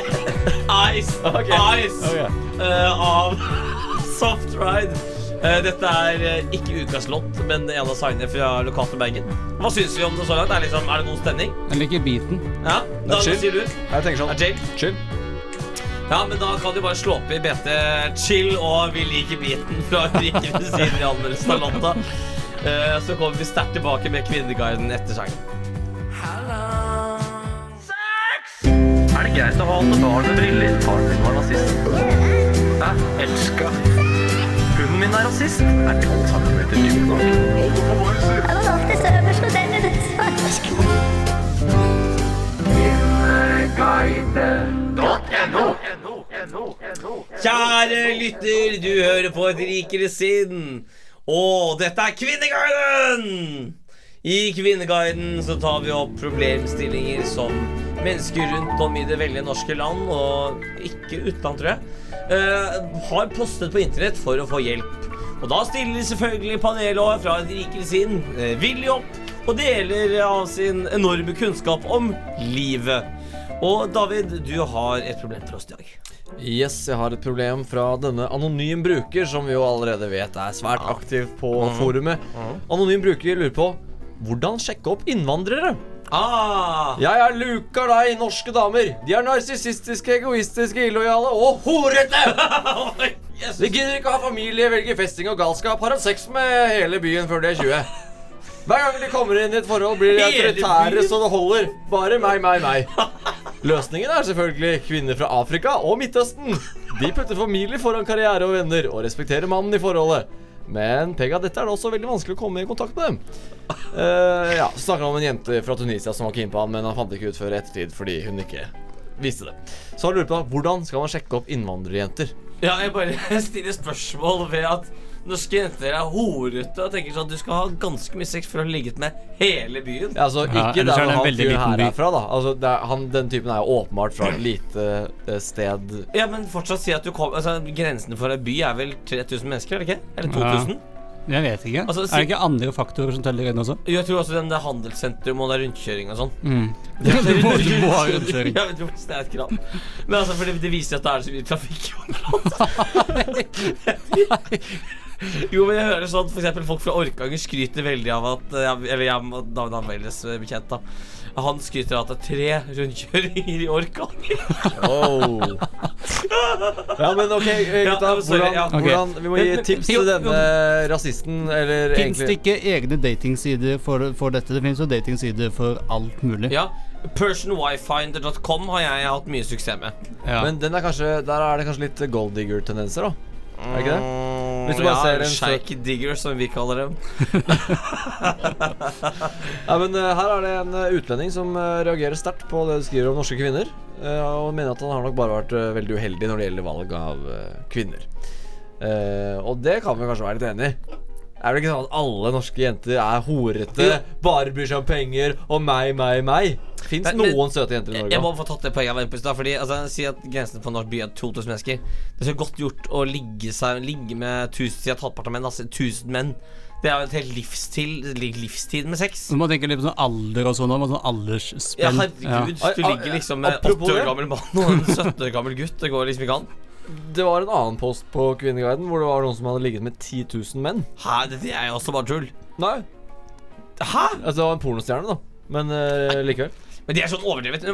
[SPEAKER 2] Ice.
[SPEAKER 3] Ok.
[SPEAKER 2] Ice.
[SPEAKER 3] Ok.
[SPEAKER 2] eh, av [laughs] Soft Ride. Eh, dette er eh, ikke ukas låt, men en av sangene fra lokalt til Bergen. Hva syns vi om det så langt? Er, liksom, er det god stemning?
[SPEAKER 4] Jeg liker beaten.
[SPEAKER 2] Ja, da
[SPEAKER 3] chill.
[SPEAKER 2] sier du.
[SPEAKER 3] Jeg tenker
[SPEAKER 2] Er
[SPEAKER 3] sånn
[SPEAKER 2] chill?
[SPEAKER 3] Chill.
[SPEAKER 2] Ja, men da kan du bare slå opp i BT Chill og Vi liker biten fra [laughs] Rikere siden i anmeldelsen av låta. Eh, Så kommer vi sterkt tilbake med Kvinneguiden etter sangen. Er det greit å ha alle barn med briller? Faren min var nazist. Jeg elska. Hunden min er rasist. Er 12 cm dyp nok? Kjære lytter, du hører på Et rikere sinn. Og dette er Kvinneguiden! I Kvinneguiden så tar vi opp problemstillinger som mennesker rundt om i det veldige norske land, og ikke utenland, tror jeg, eh, har postet på internett for å få hjelp. Og da stiller selvfølgelig panelet fra Et rikere sinn eh, villig opp og deler av sin enorme kunnskap om livet. Og David, du har et problem for oss i dag.
[SPEAKER 3] Yes, jeg har et problem fra denne anonym bruker, som vi jo allerede vet er svært aktiv på forumet. Anonym bruker lurer på hvordan sjekke opp innvandrere?
[SPEAKER 2] Ah!
[SPEAKER 3] Jeg er luker deg, norske damer. De er narsissistiske, egoistiske, illojale og
[SPEAKER 2] [laughs]
[SPEAKER 3] horete!
[SPEAKER 2] Oh
[SPEAKER 3] De gidder ikke å ha familie, velger festing og galskap, har hatt sex med hele byen før de er 20. Hver gang de kommer inn i et forhold, blir de
[SPEAKER 2] Hele
[SPEAKER 3] autoritære
[SPEAKER 2] byen?
[SPEAKER 3] så det holder. Bare meg, meg, meg. Løsningen er selvfølgelig kvinner fra Afrika og Midtøsten. De putter familie foran karriere og venner, og respekterer mannen i forholdet. Men Pegga, dette er det også veldig vanskelig å komme i kontakt med dem. Eh, ja, så snakker han om en jente fra Tunisia som var keen på han, men han fant det ikke ut før i ettertid fordi hun ikke visste det. Så han lurer på hvordan skal man sjekke opp innvandrerjenter?
[SPEAKER 2] Ja, jeg bare [laughs] stiller spørsmål ved at norske jenter er horete og tenker sånn at du skal ha ganske mye sex for å ha ligget med hele byen.
[SPEAKER 3] Ja, altså,
[SPEAKER 4] Ja,
[SPEAKER 3] ikke
[SPEAKER 4] ellers
[SPEAKER 3] der
[SPEAKER 4] er det en
[SPEAKER 3] han
[SPEAKER 4] veldig
[SPEAKER 3] fyren
[SPEAKER 4] liten
[SPEAKER 3] her
[SPEAKER 4] by.
[SPEAKER 3] er fra, da. Altså, det er, han, den typen er jo åpenbart fra et lite eh, sted
[SPEAKER 2] Ja, men fortsatt si at du kom, altså, Grensen for en by er vel 3000 mennesker, er det ikke? Eller 2000?
[SPEAKER 4] Jeg vet ikke.
[SPEAKER 2] Altså, si-
[SPEAKER 4] er det ikke andre faktorer som teller inn også?
[SPEAKER 2] Jo, Jeg tror også den der handelssentrum og der rundkjøring og sånn.
[SPEAKER 4] Mm.
[SPEAKER 2] [laughs]
[SPEAKER 4] Du må, du må ha rundkjøring.
[SPEAKER 2] Jeg vet ikke hvorfor det er et krav. Men altså, fordi det viser at det er så mye trafikk i området. Jo, men jeg hører sånn for eksempel folk fra Orkanger skryter veldig av at eh, jeg- Eller jeg og David Hamveles bekjent, da. Han skryter av at det er tre rundkjøringer i Orkanger.
[SPEAKER 3] Ja, men ok, eh,
[SPEAKER 2] Ja,
[SPEAKER 3] gutta.
[SPEAKER 2] men sorry,
[SPEAKER 3] hvordan,
[SPEAKER 2] ja.
[SPEAKER 4] Ok.
[SPEAKER 3] hvordan, vi må gi
[SPEAKER 2] Men- men-
[SPEAKER 3] tips
[SPEAKER 2] jo,
[SPEAKER 3] til
[SPEAKER 2] jo.
[SPEAKER 3] denne rasisten, eller
[SPEAKER 4] Fins det
[SPEAKER 3] egentlig
[SPEAKER 4] ikke egne datingsider for, for dette? Det fins jo datingsider for alt mulig.
[SPEAKER 2] Ja. Personwifinder.com har jeg hatt mye suksess med.
[SPEAKER 4] Ja.
[SPEAKER 3] Men den er kanskje, der er det kanskje litt gold digger-tendenser, da. Er det ikke det? Hvis du bare
[SPEAKER 2] Mm, ja,
[SPEAKER 3] ser en søt-
[SPEAKER 2] Shake digger, som vi kaller dem.
[SPEAKER 3] Ja, men eh, Her er det en eh, utlending som eh, reagerer sterkt på det du skriver om norske kvinner. eh, og mener at han har nok bare vært eh, veldig uheldig når det gjelder valg av eh, kvinner. Eh, og det kan vi kanskje være litt enig i. Er det ikke sånn at alle norske jenter er horete, bare bryr seg om penger og meg, meg, meg? Fins
[SPEAKER 2] Men- men-
[SPEAKER 3] noen søte jenter i
[SPEAKER 2] Jeg
[SPEAKER 3] Norge?
[SPEAKER 2] jeg må få tatt det poenget av Empus da Fordi altså, Si at grensen for norsk by er 2000 mennesker Det er så godt gjort å ligge, seg, ligge med tusen, Si at halvparten av menn altså, 1000 menn Det er jo et helt livstid, livstid med sex
[SPEAKER 4] Så må man tenke litt på sånn alder og sånn, og sånn aldersspenn.
[SPEAKER 2] ja, herregud,
[SPEAKER 4] Ja.
[SPEAKER 2] du
[SPEAKER 3] Ai, ai,
[SPEAKER 2] ligger liksom med en
[SPEAKER 3] apropos
[SPEAKER 2] 80 år
[SPEAKER 3] det.
[SPEAKER 2] gammel mann og en 17 år gammel gutt Det går liksom ikke an
[SPEAKER 3] Det var en annen post på Kvinneguiden hvor det var noen som hadde ligget med 10 000 menn.
[SPEAKER 2] Hæ, dette er jo også bare tull.
[SPEAKER 3] Nei,
[SPEAKER 2] Hæ?
[SPEAKER 3] altså det var en pornostjerne, da. Men eh, likevel.
[SPEAKER 2] Men det er sånn overdrevet.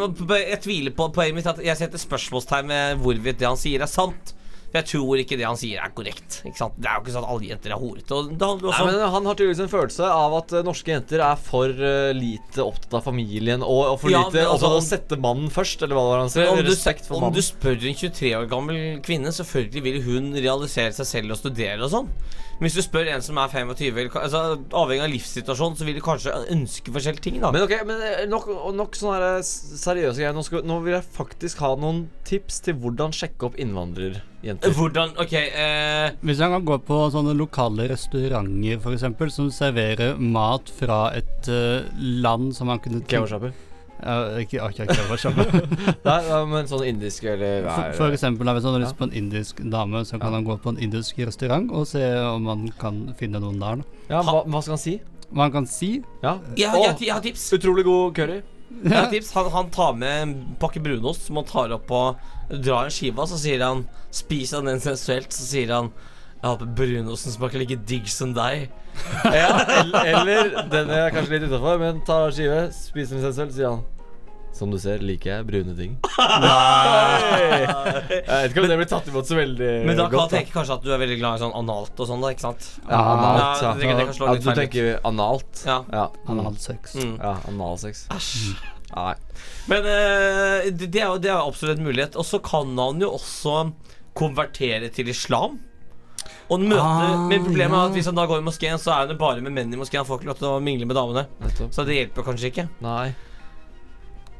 [SPEAKER 2] Jeg tviler på poenget mitt. At jeg setter spørsmålstegn ved hvorvidt det han sier, er sant. Jeg tror ikke det han sier, er korrekt. Ikke sant? Det er jo ikke sånn at alle jenter er horete. Og det handler jo
[SPEAKER 3] Nei,
[SPEAKER 2] også om
[SPEAKER 3] men Han har tydeligvis en følelse av at eh, norske jenter er for eh, lite opptatt av familien og, og for
[SPEAKER 2] Ja,
[SPEAKER 3] lite
[SPEAKER 2] men altså,
[SPEAKER 3] opptatt av å
[SPEAKER 2] om-
[SPEAKER 3] sette mannen først, eller hva var det han sier?
[SPEAKER 2] om du,
[SPEAKER 3] Respekt for
[SPEAKER 2] om du
[SPEAKER 3] mannen.
[SPEAKER 2] spør en 23 år gammel kvinne, selvfølgelig vil hun realisere seg selv og studere og sånn. Men Hvis du spør en som er 25, eller ka- altså, avhengig av livssituasjonen, så vil de kanskje ønske forskjellige ting. da
[SPEAKER 3] Men ok, men eh, nok, og nok sånne her, eh, s- seriøse greier. Nå, skal, nå vil jeg faktisk ha noen tips til hvordan sjekke opp innvandrerjenter.
[SPEAKER 2] Hvordan Ok, eh,
[SPEAKER 4] Hvis han kan gå på sånne lokale restauranter for eksempel, som serverer mat fra et eh, land som han kunne tenke-
[SPEAKER 3] Kebabsjapper.
[SPEAKER 4] Ja, ikke, ikke, ikke, kebabsjappe.
[SPEAKER 3] Nei, ja, men sånn indisk eller hva
[SPEAKER 4] For,
[SPEAKER 3] er eh,
[SPEAKER 4] for
[SPEAKER 3] det?
[SPEAKER 4] eksempel, da, hvis han har lyst på en indisk dame, så kan han gå på en indisk restaurant og se om han kan finne noen der. Da.
[SPEAKER 3] Ja, hva, hva skal han si?
[SPEAKER 4] Hva han kan si
[SPEAKER 3] Ja.
[SPEAKER 2] jeg, har- jeg, har- jeg har tips.
[SPEAKER 3] Utrolig god curry.
[SPEAKER 2] Jeg har tips. Han, han tar med en pakke brunost som han tar opp og drar en skive av. Så sier han Spis han den sensuelt. Så sier han Jeg håper brunosten smaker like digg som deg.
[SPEAKER 3] Ja, eller, eller den er kanskje litt utafor, men tar av skive, spiser den selv, sier han. Som du ser, liker jeg brune ting. Nei! Jeg vet ikke om det blir tatt imot så veldig
[SPEAKER 2] Men da kan han
[SPEAKER 3] godt.
[SPEAKER 2] tenke kanskje at du er veldig glad i sånn analt og sånn, da. Ikke sant?
[SPEAKER 3] da. Ja, analt,
[SPEAKER 2] Ja,
[SPEAKER 3] ja.
[SPEAKER 2] det- det kan slå
[SPEAKER 3] ja
[SPEAKER 2] litt
[SPEAKER 3] du
[SPEAKER 2] feil ut.
[SPEAKER 3] tenker analt?
[SPEAKER 2] Ja.
[SPEAKER 3] Ja,
[SPEAKER 4] han har hatt sex.
[SPEAKER 2] Mm.
[SPEAKER 3] ja analsex.
[SPEAKER 2] Æsj.
[SPEAKER 3] Nei.
[SPEAKER 2] Men eh, det, det, er jo, det er jo absolutt en mulighet. Og så kan han jo også konvertere til islam. Og møte,
[SPEAKER 4] Ah,
[SPEAKER 2] men problemet er
[SPEAKER 4] ja.
[SPEAKER 2] at hvis han da går i moskeen, så er det bare med menn i moskeen. Han får ikke lov til å mingle med damene.
[SPEAKER 3] Nettopp.
[SPEAKER 2] Så det hjelper kanskje ikke.
[SPEAKER 3] Nei.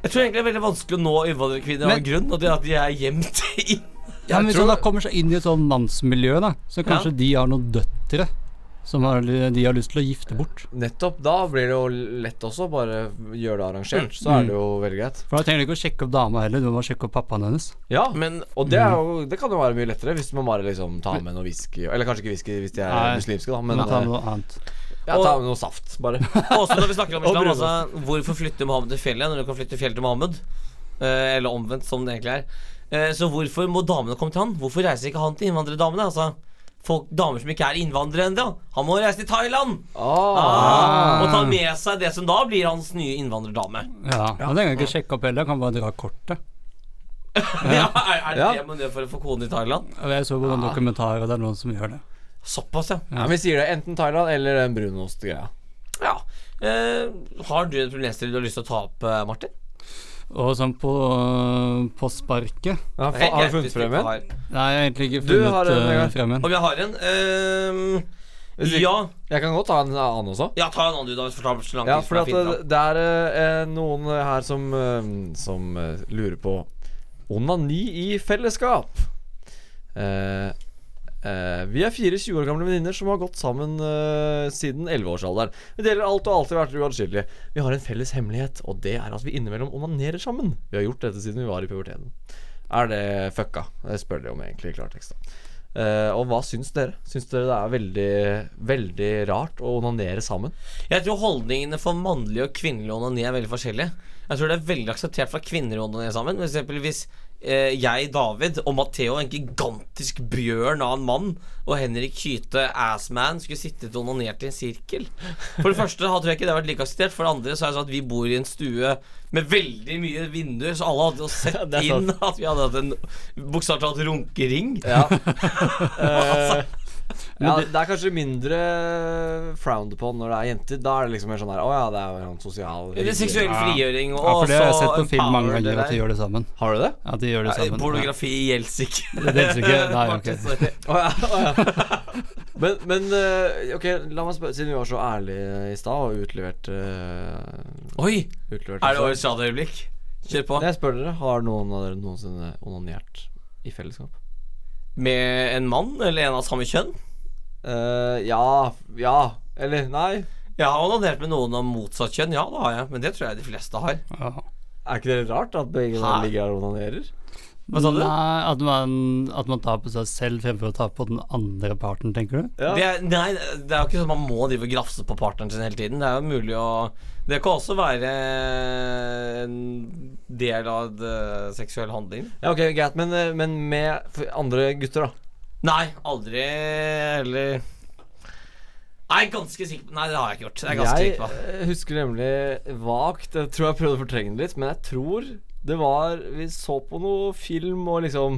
[SPEAKER 2] Jeg tror egentlig det er veldig vanskelig å nå innvandrerkvinner av
[SPEAKER 4] Men-
[SPEAKER 2] en grunn, og det er at de er gjemt inn.
[SPEAKER 4] Ja, men
[SPEAKER 3] Jeg
[SPEAKER 4] Hvis han
[SPEAKER 3] tror-
[SPEAKER 4] da kommer seg inn i et sånn mannsmiljø, da, så kanskje de har noen døtre som har, de har lyst til å gifte bort.
[SPEAKER 3] Nettopp. Da blir det jo lett også. Bare gjør det arrangert, så er det jo veldig greit.
[SPEAKER 4] For Da trenger du ikke å sjekke opp dama heller, du må sjekke opp pappaen hennes.
[SPEAKER 3] Ja,
[SPEAKER 2] Men
[SPEAKER 3] og det, er jo, det kan jo være mye lettere hvis man bare liksom tar med noe whisky. Eller kanskje ikke whisky hvis de er
[SPEAKER 4] Nei.
[SPEAKER 3] muslimske, da, men
[SPEAKER 4] Men ta
[SPEAKER 3] eh,
[SPEAKER 4] noe annet.
[SPEAKER 3] ja, ta med noe saft, bare.
[SPEAKER 2] også når vi snakker om
[SPEAKER 3] Og
[SPEAKER 2] islam,
[SPEAKER 3] brunost.
[SPEAKER 2] altså hvorfor flytte Mohammed til fjellet når du kan flytte fjellet til Mohammed? Eh, eller omvendt, som det egentlig er. Eh, så hvorfor må damene komme til han? Hvorfor reiser ikke han til innvandrerdamene? Altså, folk, damer som ikke er innvandrere ennå. Han må reise til Thailand! Ah, og ta med seg det som da blir hans nye innvandrerdame.
[SPEAKER 4] Ja, Han trenger ikke sjekke opp heller, han kan bare dra kortet.
[SPEAKER 2] [laughs] Ja, er, er det
[SPEAKER 3] Ja.
[SPEAKER 2] det man gjør for å få kone i Thailand?
[SPEAKER 4] Og Jeg så på noen dokumentarer, og det er noen som gjør det.
[SPEAKER 2] Såpass, ja.
[SPEAKER 3] Ja, men vi sier det enten Thailand eller den brunostgreia.
[SPEAKER 2] ja. Eh, har du en problemstilling du har lyst til å ta opp, eh, Martin?
[SPEAKER 4] Og sånn på, på sparket
[SPEAKER 3] Ja, fa- har du funnet frem en?
[SPEAKER 4] Nei, jeg har egentlig ikke
[SPEAKER 3] Du har
[SPEAKER 4] funnet
[SPEAKER 3] en,
[SPEAKER 4] eh,
[SPEAKER 3] Vegard.
[SPEAKER 4] frem en.
[SPEAKER 2] Om jeg har en? Ehm,
[SPEAKER 3] Hvis ikke-
[SPEAKER 2] ja.
[SPEAKER 3] Jeg kan godt ta en annen også.
[SPEAKER 2] ja, ta en annen du, da. hvis du tar så lang tid
[SPEAKER 3] Ja,
[SPEAKER 2] som
[SPEAKER 3] for
[SPEAKER 2] jeg
[SPEAKER 3] at
[SPEAKER 2] finner
[SPEAKER 3] det,
[SPEAKER 2] fram.
[SPEAKER 3] det er eh, noen her som, eh, som eh, lurer på onani i fellesskap. Eh, eh, vi er fire 20 år gamle venninner som har gått sammen eh, siden 11-årsalderen. Vi deler alt og har alltid vært uatskillelige. Vi har en felles hemmelighet, og det er at vi innimellom onanerer sammen. Vi har gjort dette siden vi var i puberteten. Er det fucka? Det spør de om egentlig i klartekst. da. Eh, og hva syns dere? Syns dere det er veldig, veldig rart å onanere sammen?
[SPEAKER 2] Jeg tror holdningene for mannlig og kvinnelig onani er veldig forskjellige. Jeg tror det er veldig akseptert for kvinner å onanere sammen. For eksempel hvis eh, jeg, David og Matheo, en gigantisk bjørn av en mann, og Henrik Kyte, assman, skulle sittet og onanert i en sirkel. For det første har- tror jeg ikke det har vært like akseptert. For det andre så er det sånn at vi bor i en stue med veldig mye vinduer, så alle hadde jo
[SPEAKER 4] [laughs]
[SPEAKER 2] sett
[SPEAKER 3] Det er sant.
[SPEAKER 2] inn at vi hadde hatt en bokstavelig talt runkering.
[SPEAKER 3] Ja. Eh, ja, det er kanskje mindre frowned upon når det er jenter. Da er det liksom mer sånn her Å ja, det er jo en sosial
[SPEAKER 2] Eller seksuell frigjøring og
[SPEAKER 4] Ja, for det har jeg
[SPEAKER 2] så
[SPEAKER 4] sett på film mange
[SPEAKER 2] empower det
[SPEAKER 4] ganger, at
[SPEAKER 2] der.
[SPEAKER 4] de gjør det sammen.
[SPEAKER 3] Har du det?
[SPEAKER 4] At de gjør det
[SPEAKER 2] Nei,
[SPEAKER 4] sammen.
[SPEAKER 2] Pornografi gjelder ikke.
[SPEAKER 4] Ja, det er ikke.
[SPEAKER 2] [laughs]
[SPEAKER 4] Nei, ok.
[SPEAKER 2] Martin, sorry.
[SPEAKER 3] Å ja, å ja. [laughs] Men, men eh, ok, la meg spørre Siden vi var så ærlige i stad og utleverte
[SPEAKER 2] Oi!
[SPEAKER 3] Utlevert
[SPEAKER 2] Er det årets radioøyeblikk? Kjør på.
[SPEAKER 3] Jeg spør dere, har noen av dere noensinne onanert i fellesskap?
[SPEAKER 2] Med en mann eller en av samme kjønn?
[SPEAKER 3] Eh, ja. Ja. Eller nei.
[SPEAKER 2] Jeg har onanert med noen av motsatt kjønn, ja, det har jeg. Men det tror jeg de fleste har.
[SPEAKER 4] Ja.
[SPEAKER 3] Er ikke det litt rart at begge
[SPEAKER 2] Hæ?
[SPEAKER 3] ligger her og onanerer?
[SPEAKER 2] Hva sa du?
[SPEAKER 4] sånn, Nei, at man, at man tar på seg selv fremfor å ta på den andre parten, tenker du?
[SPEAKER 3] Ja.
[SPEAKER 2] Det er, nei, det er jo ikke sånn man må drive og grafse på partneren sin hele tiden. Det er jo mulig å Det kan også være en del av det seksuell handling.
[SPEAKER 3] Ja, ok, greit, men, eh, men med for andre gutter, da.
[SPEAKER 2] Nei, aldri Eller Nei, ganske sikker på Nei, det har jeg ikke gjort. Jeg er ganske
[SPEAKER 3] Jeg
[SPEAKER 2] sikker på
[SPEAKER 3] eh, husker nemlig vagt Jeg tror jeg prøvde å fortrenge det litt, men jeg tror det var Vi så på noe film og liksom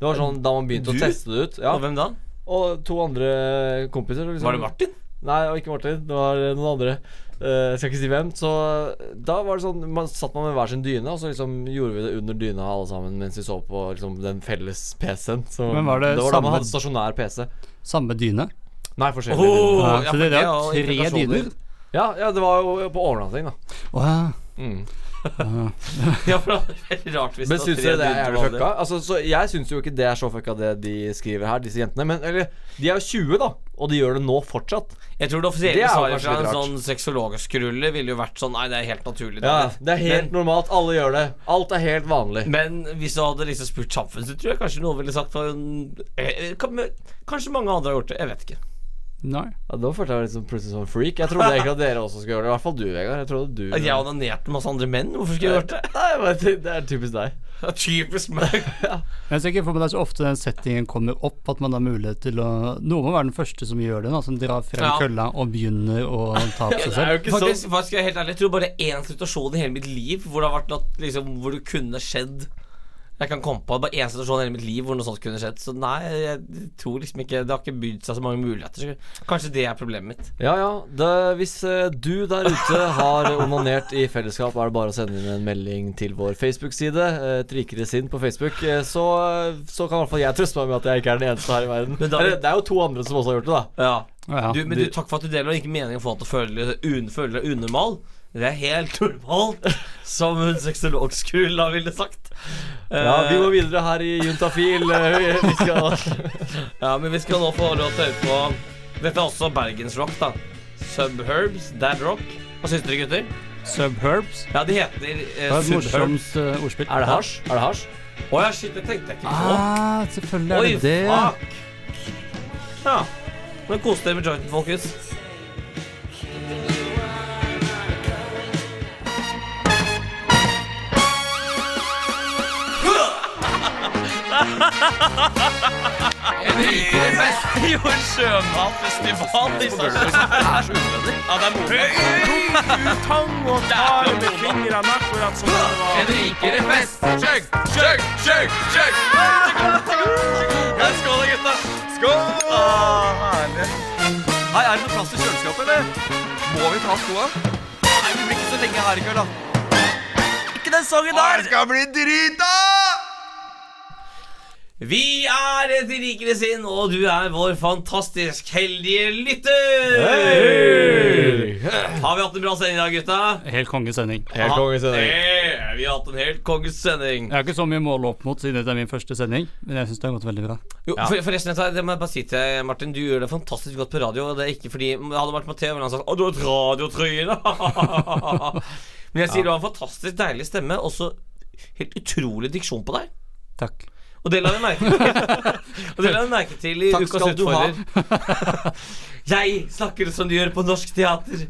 [SPEAKER 3] Det var sånn da man begynte
[SPEAKER 2] Du?
[SPEAKER 3] å teste det ut.
[SPEAKER 2] Og
[SPEAKER 3] Ja.
[SPEAKER 2] hvem da?
[SPEAKER 3] Og to andre kompiser. og Liksom,
[SPEAKER 2] Var det Martin?
[SPEAKER 3] Nei, og ikke Martin. Det var eh, noen andre. Eh, jeg skal ikke si hvem. Så da var det sånn man, Satt man med hver sin dyne, og så liksom gjorde vi det under dyna alle sammen mens vi så på liksom, den felles PC-en. Så
[SPEAKER 4] Men var det
[SPEAKER 3] det var da
[SPEAKER 4] samme-
[SPEAKER 3] man hadde stasjonær PC.
[SPEAKER 4] Samme dyne?
[SPEAKER 3] Nei, forskjellig.
[SPEAKER 2] Åh, Oh, ja,
[SPEAKER 4] Ja, så det
[SPEAKER 2] for
[SPEAKER 4] er
[SPEAKER 2] det
[SPEAKER 4] jo
[SPEAKER 2] har
[SPEAKER 4] tre
[SPEAKER 2] implikasjoner.
[SPEAKER 4] dyner?
[SPEAKER 3] Ja, ja, det var jo på overnatting, da.
[SPEAKER 4] Å ja.
[SPEAKER 3] Mm.
[SPEAKER 2] [laughs] Ja, for det er veldig rart hvis
[SPEAKER 3] Men
[SPEAKER 2] var
[SPEAKER 3] syns
[SPEAKER 2] tre
[SPEAKER 3] dere det er
[SPEAKER 2] dyner
[SPEAKER 3] jævlig
[SPEAKER 2] på
[SPEAKER 3] fucka? Altså, så jeg syns jo ikke det er så fucka, det de skriver her, disse jentene. Men eller, de er jo 20, da, og de gjør det nå fortsatt.
[SPEAKER 2] Jeg tror det
[SPEAKER 3] Det
[SPEAKER 2] offisielle
[SPEAKER 3] er jo
[SPEAKER 2] svaret
[SPEAKER 3] kanskje
[SPEAKER 2] fra
[SPEAKER 3] litt
[SPEAKER 2] en
[SPEAKER 3] rart.
[SPEAKER 2] sånn sexologskrulle ville jo vært sånn Nei, det er helt naturlig.
[SPEAKER 3] Ja,
[SPEAKER 2] det er
[SPEAKER 3] Det er helt normalt. Alle gjør det. Alt er helt vanlig.
[SPEAKER 2] Men hvis du hadde liksom spurt samfunnet, så tror jeg kanskje noen ville sagt for, eh, kan- Kanskje mange andre har gjort det. Jeg vet ikke.
[SPEAKER 4] Nei.
[SPEAKER 3] Ja, da følte jeg meg litt som plutselig som en freak. Jeg trodde egentlig at dere også skulle gjøre det. I hvert fall du, Vegard. Jeg trodde du
[SPEAKER 2] At jeg onanerte med masse andre menn? Hvorfor skulle jeg gjort det? [laughs]
[SPEAKER 3] Nei, men det det er typisk deg.
[SPEAKER 2] Typisk meg.
[SPEAKER 3] [laughs]
[SPEAKER 4] Jeg ser ikke for meg det er så ofte den settingen kommer opp, at man har mulighet til å Noen må være den første som gjør det, da, som drar frem
[SPEAKER 2] Ja.
[SPEAKER 4] kølla og begynner å ta på seg
[SPEAKER 3] Det er
[SPEAKER 4] selv.
[SPEAKER 3] jo ikke sånn.
[SPEAKER 2] Faktisk, faktisk er jeg helt ærlig, jeg tror bare én situasjon i hele mitt liv hvor det har vært noe liksom, Hvor det kunne skjedd. Jeg kan komme på bare én situasjon i hele mitt liv hvor noe sånt kunne skjedd. Så nei, jeg tror liksom ikke det har ikke bydd seg så mange muligheter. Så kanskje det er problemet mitt.
[SPEAKER 3] Ja, ja. Det, hvis eh, du der ute har onanert i fellesskap, er det bare å sende inn en melding til vår Facebook-side. eh, Et rikere sinn på Facebook. eh, Så, så kan i hvert fall jeg trøste meg med at jeg ikke er den eneste her i verden.
[SPEAKER 2] Men da-
[SPEAKER 3] Eller, det er jo to andre som også har gjort det, da.
[SPEAKER 2] Ja.
[SPEAKER 4] Ja.
[SPEAKER 2] Du, men du, takk for at du deler, og ikke meningen å få deg til å føle deg un, føle deg unormal. Det er helt normalt, som hun sexologskrulla ville sagt.
[SPEAKER 3] Ja, Vi
[SPEAKER 2] Eh,
[SPEAKER 3] går videre her i Juntafil. eh, Vi, vi [laughs] skal
[SPEAKER 2] ja, men vi skal nå få lov til å høre på Dette er også bergensrock, da. Subherbs, Dad Rock. Hva syns dere, gutter?
[SPEAKER 4] Subherbs.
[SPEAKER 2] Ja, de heter
[SPEAKER 4] Det
[SPEAKER 2] eh,
[SPEAKER 4] var et
[SPEAKER 2] Subherbs.
[SPEAKER 4] morsomt eh, ordspill.
[SPEAKER 3] Er det hasj? Er det hasj?
[SPEAKER 2] Å ja, shit, det tenkte jeg ikke på.
[SPEAKER 4] Ah, selvfølgelig er
[SPEAKER 2] Oi,
[SPEAKER 4] det det.
[SPEAKER 2] fuck! Ja. Men kos dere med jointen, folkens. Jeg liker det best. [laughs] Jo, en sjømatfestival, disse Ja, det er moro.
[SPEAKER 8] Tang og
[SPEAKER 2] er
[SPEAKER 8] tar med fingrene akkurat som det var.
[SPEAKER 2] rikere fest. Sjøg, sjøg, sjøg, sjøg. Skål, gutta.
[SPEAKER 3] Hei, er det noe plass til kjøleskapet, eller? Må vi ta skoa? Nei, vi blir ikke så lenge her i kveld, da. Ikke den sangen der!
[SPEAKER 8] skal bli drita!
[SPEAKER 2] Vi er et rikere sinn, og du er vår fantastisk heldige lytter! Har vi hatt en bra sending i dag, gutta?
[SPEAKER 4] Helt kongesending.
[SPEAKER 3] Helt konge sending.
[SPEAKER 2] Hey, vi har hatt en helt konges sending.
[SPEAKER 4] Jeg har ikke så mye mål å opp mot siden dette er min første sending, men jeg syns det har gått veldig bra.
[SPEAKER 2] Jo, for, forresten, dette- det må jeg bare si til deg, Martin, du gjør det fantastisk godt på radio. Og det er ikke fordi Hadde det vært på TV, ville han sagt 'Å, du har et radiotryne'. Men jeg sier du har en fantastisk deilig stemme, og så helt utrolig diksjon på deg.
[SPEAKER 4] Takk.
[SPEAKER 2] Og det la jeg merke til,
[SPEAKER 3] [laughs]
[SPEAKER 2] og det la jeg merke til i
[SPEAKER 3] Takk
[SPEAKER 2] Ukas
[SPEAKER 3] skal du ha.
[SPEAKER 2] utfordrer. [laughs] jeg snakker som de gjør på norsk teater.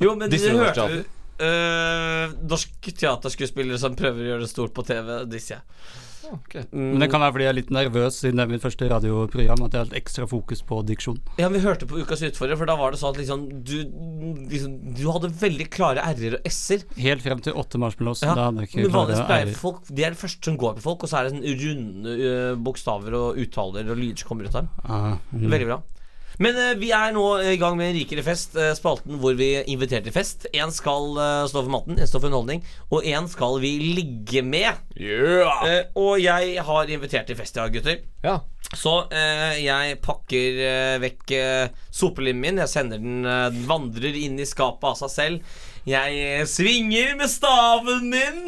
[SPEAKER 2] Jo, men dere
[SPEAKER 3] Disser du norsk
[SPEAKER 2] hørte du norsk teaterskuespillere som prøver å gjøre det stort på TV, disser jeg. Mm.
[SPEAKER 4] Men det kan være fordi jeg er litt nervøs siden det er mitt første radioprogram, at jeg har litt ekstra fokus på diksjon.
[SPEAKER 2] Ja, vi hørte på Ukas utfordrer, for da var det sånn at liksom du, liksom, du hadde veldig klare r-er og s-er.
[SPEAKER 4] Helt frem til åtte marshmallows.
[SPEAKER 2] Ja,
[SPEAKER 4] Da hadde jeg ikke
[SPEAKER 2] men vanligvis
[SPEAKER 4] klart
[SPEAKER 2] pleier
[SPEAKER 4] det.
[SPEAKER 2] folk Det er det første som går på folk, og så er det sånn runde eh, bokstaver og uttaler og lyder som kommer ut av dem.
[SPEAKER 4] Ah, mm.
[SPEAKER 2] Veldig bra. Men eh, vi er nå i gang med en rikere fest, eh, spalten hvor vi inviterer til fest. Én skal eh, stå for maten, én står for underholdning, og én skal vi ligge med. Eh, og jeg har invitert til fest i dag, gutter.
[SPEAKER 3] Ja.
[SPEAKER 2] Så eh, jeg pakker eh, vekk eh, sopelimmen min. Jeg sender den eh, Den vandrer inn i skapet av seg selv. Jeg svinger med staven min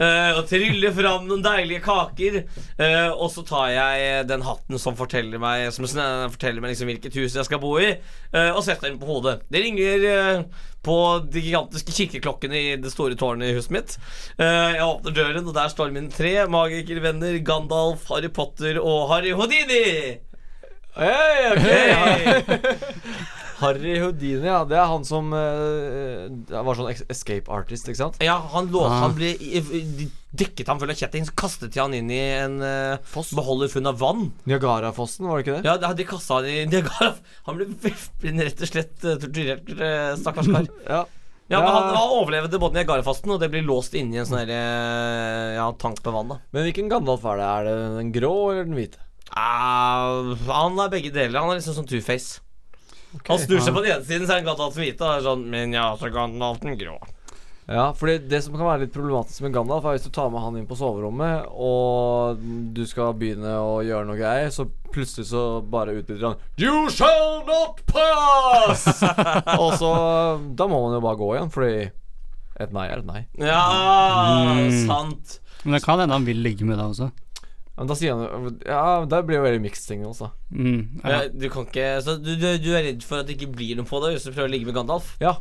[SPEAKER 2] eh, og tryller fram noen deilige kaker. Eh, og så tar jeg eh, den hatten som forteller meg Som sn- forteller meg liksom hvilket hus jeg skal bo i, eh, og setter den på hodet. Det ringer eh, på de gigantiske kirkeklokkene i det store tårnet i huset mitt. Eh, jeg åpner døren, og der står mine tre magikervenner Gandalf, Harry Potter og Harry Houdini.
[SPEAKER 3] Hey,
[SPEAKER 2] Hey!
[SPEAKER 3] [laughs] Harry Houdini, ja. Det er han som eh, var sånn ex- escape artist, ikke sant?
[SPEAKER 2] Ja, han lå
[SPEAKER 4] Ah.
[SPEAKER 2] Han ble i- i- dekket han full av kjetting, så kastet de han inn i en eh, beholder full av vann.
[SPEAKER 3] Niagarafossen, var det ikke det?
[SPEAKER 2] Ja, da- de kastet han i Niagara. Han ble ble rett og slett eh, torturert, eh, stakkars kar.
[SPEAKER 3] Ja.
[SPEAKER 2] Ja, men han,
[SPEAKER 3] Ja.
[SPEAKER 2] han overlevde både Niagarafasten, og det blir låst inne i en sånn her, eh, ja, tank med vann, da.
[SPEAKER 3] Men hvilken Gandalf er det? Er det den grå eller den hvite?
[SPEAKER 2] Ah, han er begge deler. Han er liksom sånn two-face. Han snur seg på den ene siden, så er han Gandalf den hvite. Og er sånn, men ja, så Gandalf den grå.
[SPEAKER 3] Ja, fordi det som kan være litt problematisk med Gandalf, er hvis du tar med han inn på soverommet, og du skal begynne å gjøre noe greier, så plutselig så bare utbytter han You shall not pass! [laughs] og så Da må man jo bare gå igjen, fordi et nei er et nei.
[SPEAKER 2] Ja, sant.
[SPEAKER 4] Men det kan hende han vil ligge med deg også.
[SPEAKER 3] Men da sier han jo- Ja, der blir jo veldig mixed signals, da.
[SPEAKER 4] Mm, ja.
[SPEAKER 2] Ja. Du kan ikke Så du, du, du er redd for at det ikke blir noe på deg hvis du prøver å ligge med Gandalf?
[SPEAKER 3] Ja.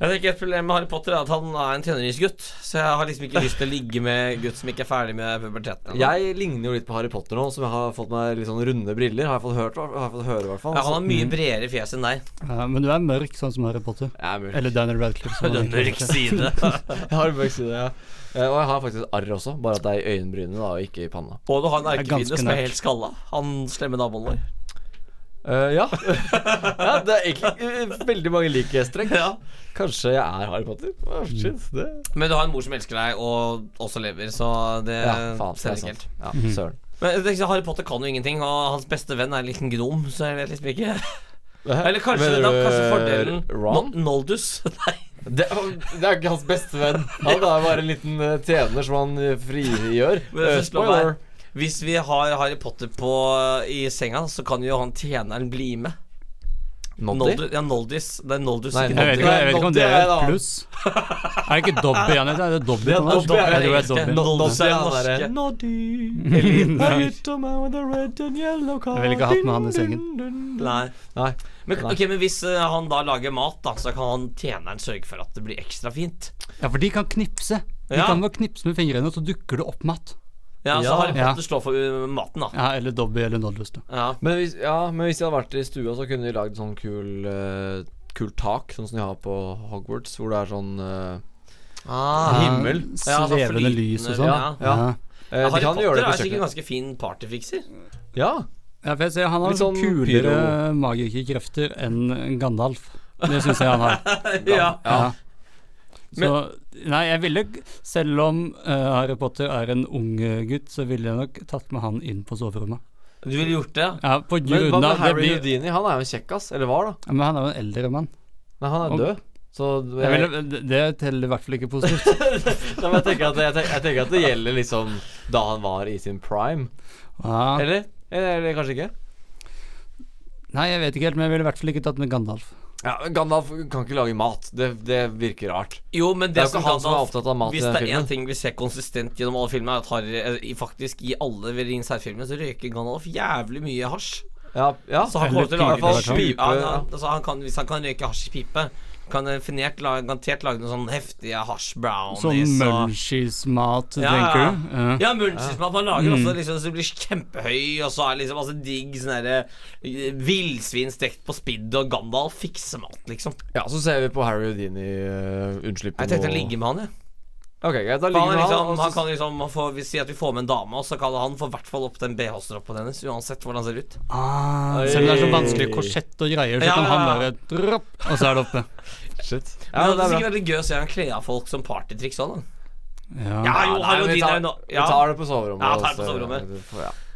[SPEAKER 2] Jeg tenker Et problem med Harry Potter er at han er en tenåringsgutt. Så jeg har liksom ikke lyst til å ligge med gutt som ikke er ferdig med puberteten. ennå.
[SPEAKER 3] Jeg ligner jo litt på Harry Potter nå, som jeg har fått meg litt sånn runde briller. Har jeg fått hørt, har jeg fått høre, i hvert fall.
[SPEAKER 2] Ja, han har mye bredere fjes enn deg.
[SPEAKER 4] Ja, men du er mørk, sånn som Harry Potter.
[SPEAKER 3] Jeg er mørk.
[SPEAKER 4] Eller Daniel Radcliffe. Som han
[SPEAKER 2] Den
[SPEAKER 4] egentlig
[SPEAKER 2] mørke
[SPEAKER 4] heter.
[SPEAKER 2] side.
[SPEAKER 3] [laughs] Jeg har mørk side, ja. Eh, Og jeg har faktisk et arr også, bare at det er i øyenbrynene da, og ikke i panna.
[SPEAKER 2] Og du har en
[SPEAKER 4] Jeg er ganske
[SPEAKER 2] erkefiende som er
[SPEAKER 4] nerd.
[SPEAKER 2] helt skalla. Han slemme naboen vår.
[SPEAKER 3] Eh, ja. [laughs] ja. Det er egentlig eh, veldig mange likhetstrekk.
[SPEAKER 2] Ja.
[SPEAKER 3] Kanskje jeg er Harry Potter? Å, shit, det
[SPEAKER 2] Men du har en mor som elsker deg, og også lever, så Eh, det
[SPEAKER 3] Ja, faen. Det
[SPEAKER 2] ser
[SPEAKER 3] er
[SPEAKER 2] ikke
[SPEAKER 3] sant.
[SPEAKER 2] helt.
[SPEAKER 3] Ja, søren.
[SPEAKER 2] Men jeg tenker, Harry Potter kan jo ingenting, og hans beste venn er en liten gnom, så jeg vet liksom ikke
[SPEAKER 3] [laughs]
[SPEAKER 2] Eller kanskje,
[SPEAKER 3] Mener
[SPEAKER 2] da,
[SPEAKER 3] du, eh,
[SPEAKER 2] kanskje fordelen
[SPEAKER 3] Ron?
[SPEAKER 2] Nol- Noldus. [laughs] Nei.
[SPEAKER 3] Det, det er ikke hans beste venn. Han er bare en liten eh, tjener som han eh, frigjør.
[SPEAKER 2] Men det
[SPEAKER 3] Eh,
[SPEAKER 2] som slår meg er, Hvis vi har Harry Potter på, i senga, så kan jo han tjeneren bli med.
[SPEAKER 3] Noddy?
[SPEAKER 2] Noldu, ja, Noldis. Det er Noldus.
[SPEAKER 3] Nei,
[SPEAKER 2] ikke
[SPEAKER 4] Jeg
[SPEAKER 2] Noldi.
[SPEAKER 4] vet ikke, jeg vet ikke om det
[SPEAKER 3] Dobby er
[SPEAKER 4] er
[SPEAKER 3] en
[SPEAKER 4] et
[SPEAKER 3] annen.
[SPEAKER 4] pluss. Er det ikke Dobby han heter? Er det Dobby?
[SPEAKER 3] Det er
[SPEAKER 4] han heter?
[SPEAKER 3] Dobby, ja,
[SPEAKER 4] Jeg tror det
[SPEAKER 2] det er
[SPEAKER 4] er Dobby.
[SPEAKER 2] riktig. Noddy er
[SPEAKER 3] han
[SPEAKER 2] norske.
[SPEAKER 3] derre,
[SPEAKER 4] [laughs]
[SPEAKER 3] Noddy.
[SPEAKER 2] Eliten
[SPEAKER 3] I
[SPEAKER 2] er-
[SPEAKER 3] hit a man with a red and yellow car.
[SPEAKER 4] Jeg ville ikke hatt med
[SPEAKER 3] Dun,
[SPEAKER 4] han i sengen.
[SPEAKER 3] dun, dun, dun.
[SPEAKER 2] Nei.
[SPEAKER 3] Nei.
[SPEAKER 2] Men,
[SPEAKER 3] Nei.
[SPEAKER 2] ok, men hvis eh, han da lager mat, da, så kan han tjeneren sørge for at det blir ekstra fint.
[SPEAKER 4] Ja, for de kan knipse. De
[SPEAKER 2] Ja.
[SPEAKER 4] kan bare knipse med fingrene, og så dukker det opp mat.
[SPEAKER 2] Ja, Så
[SPEAKER 3] Ja.
[SPEAKER 2] Harry
[SPEAKER 4] Ja.
[SPEAKER 2] Potter står for uh, maten, da.
[SPEAKER 4] Ja, eller Dobby eller Nodlus. da.
[SPEAKER 2] Ja.
[SPEAKER 3] Men hvis, ja, men hvis jeg hadde vært i stua, så kunne de lagd sånn kul eh, Kul tak, sånn som de har på Hogwarts, hvor det er sånn eh,
[SPEAKER 4] Ah.
[SPEAKER 3] himmel.
[SPEAKER 2] Ja,
[SPEAKER 4] Ja,
[SPEAKER 2] altså,
[SPEAKER 4] Svevende
[SPEAKER 2] flytende,
[SPEAKER 4] lys og
[SPEAKER 2] ja.
[SPEAKER 4] sånn.
[SPEAKER 3] Ja.
[SPEAKER 4] Ja.
[SPEAKER 3] eh, De
[SPEAKER 2] Harry
[SPEAKER 3] kan
[SPEAKER 2] Potter
[SPEAKER 3] gjøre det
[SPEAKER 2] er
[SPEAKER 3] på
[SPEAKER 2] sikkert en
[SPEAKER 3] kjøkkenet.
[SPEAKER 2] ganske fin partyfikser.
[SPEAKER 3] [laughs] Ja.
[SPEAKER 4] ja, for jeg ser han har
[SPEAKER 3] Litt sånn
[SPEAKER 4] sånn kulere
[SPEAKER 3] pyro.
[SPEAKER 4] magikerkrefter enn Gandalf. Det syns jeg han har.
[SPEAKER 2] Ja.
[SPEAKER 4] Ja. Så Nei, jeg ville Selv om eh, Harry Potter er en ung eh, gutt, så ville jeg nok tatt med han inn på soverommet.
[SPEAKER 2] Du ville gjort det?
[SPEAKER 4] Ja, på
[SPEAKER 3] Men
[SPEAKER 4] grunn
[SPEAKER 3] hva med
[SPEAKER 4] av det
[SPEAKER 3] Harry
[SPEAKER 4] blir,
[SPEAKER 3] Houdini? Han er jo en kjekkas. Eller var, da.
[SPEAKER 4] ja, Men han er jo en eldre mann.
[SPEAKER 3] Nei, han
[SPEAKER 4] Og-
[SPEAKER 3] er død. Så
[SPEAKER 4] Jeg
[SPEAKER 3] jeg,
[SPEAKER 4] ville, det- det teller i hvert fall ikke positivt.
[SPEAKER 3] Nei, men jeg, tenker at, jeg, tenker, jeg tenker at det gjelder liksom da han var i sin prime.
[SPEAKER 4] Ja.
[SPEAKER 3] Eller? Eller, eller kanskje ikke?
[SPEAKER 4] Nei, jeg vet ikke helt, men jeg ville i hvert fall ikke tatt med Gandalf.
[SPEAKER 3] Ja, men Gandalf kan ikke lage mat. Det, det virker rart.
[SPEAKER 2] Jo, men det,
[SPEAKER 3] Det er jo
[SPEAKER 2] som
[SPEAKER 3] ikke han som er
[SPEAKER 2] Gandalf-
[SPEAKER 3] opptatt av mat i
[SPEAKER 2] Hvis
[SPEAKER 3] den
[SPEAKER 2] det er
[SPEAKER 3] filmen.
[SPEAKER 2] én ting vi ser konsistent gjennom alle filmer, er at Harry, eh, i- faktisk i alle Ringens herre-filmer så røyker Gandalf jævlig mye hasj.
[SPEAKER 3] Ja, ja.
[SPEAKER 2] Så han
[SPEAKER 4] Eller
[SPEAKER 2] kommer til å lage
[SPEAKER 4] pipe,
[SPEAKER 2] noe
[SPEAKER 4] kanskje.
[SPEAKER 2] sjukt-
[SPEAKER 3] Pipe,
[SPEAKER 2] ja, ja.
[SPEAKER 3] ja.
[SPEAKER 2] altså, han kan, Hvis han kan røyke hasj i pipe, kan han finert, la- garantert lage noen sånn heftige hasj brownies.
[SPEAKER 4] Sånn
[SPEAKER 2] og-
[SPEAKER 4] munchies-mat,
[SPEAKER 2] Ja,
[SPEAKER 4] tenker
[SPEAKER 2] ja.
[SPEAKER 4] du? Ja.
[SPEAKER 2] Ja, munchies man man lager også liksom, så det blir kjempehøy, og så er liksom altså, digg sånn derre eh, villsvin stekt på spidd, og Gandalf fikser mat, liksom.
[SPEAKER 3] ja, så ser vi på Harry Houdini uh, unnslippe
[SPEAKER 2] Jeg tenkte å ligge med han, jeg.
[SPEAKER 3] Ok, greit, da
[SPEAKER 2] Han,
[SPEAKER 3] ligger
[SPEAKER 2] er
[SPEAKER 3] vi
[SPEAKER 2] liksom,
[SPEAKER 3] og så-
[SPEAKER 2] han kan liksom man får, Vi sier at vi får med en dame, og så kan han få i hvert fall opp den BH-stroppen hennes. Uansett hvordan han ser ut.
[SPEAKER 4] Ah, selv om det er så vanskelig
[SPEAKER 3] Oi.
[SPEAKER 4] korsett og greier, så
[SPEAKER 2] Ja,
[SPEAKER 4] kan han
[SPEAKER 2] ja, ja.
[SPEAKER 4] bare dropp, og så er det oppe.
[SPEAKER 3] Shit.
[SPEAKER 2] Men det
[SPEAKER 3] Ja, det
[SPEAKER 2] hadde
[SPEAKER 3] er
[SPEAKER 2] sikkert
[SPEAKER 3] bra.
[SPEAKER 2] vært litt gøy å se han kle av folk som partytriks òg, da.
[SPEAKER 4] Ja.
[SPEAKER 2] Ja, jo,
[SPEAKER 3] Nei,
[SPEAKER 2] Harry
[SPEAKER 3] vi
[SPEAKER 2] Houdini er
[SPEAKER 3] tar,
[SPEAKER 2] jo nå-
[SPEAKER 3] vi
[SPEAKER 2] ja.
[SPEAKER 3] tar det på soverommet.
[SPEAKER 2] Ja, tar det på
[SPEAKER 3] også.
[SPEAKER 2] soverommet.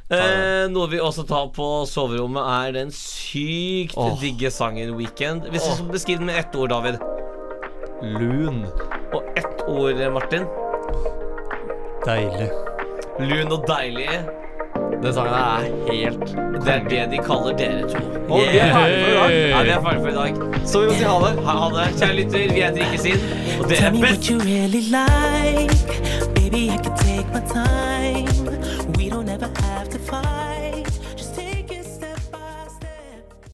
[SPEAKER 3] Ja.
[SPEAKER 2] Eh, noe vi også tar på soverommet, er den sykt
[SPEAKER 3] Åh.
[SPEAKER 2] digge sangen 'Weekend'. Hvis du skal beskrive den med ett ord, David.
[SPEAKER 3] Lun.
[SPEAKER 2] Og ett ord, Martin.
[SPEAKER 4] Deilig.
[SPEAKER 2] Lun og deilig.
[SPEAKER 3] Den sangen her er helt
[SPEAKER 2] Det er det de kaller dere to.
[SPEAKER 3] Og vi er ferdige for i dag.
[SPEAKER 2] Ja, vi er ferdige for i dag.
[SPEAKER 3] Så vi må si ha det.
[SPEAKER 2] Ha, ha det. Kjære lytter, vi heter Ikke Sinn, og dere er best.
[SPEAKER 9] you really like. Baby, I can take my time. We don't ever have to fight.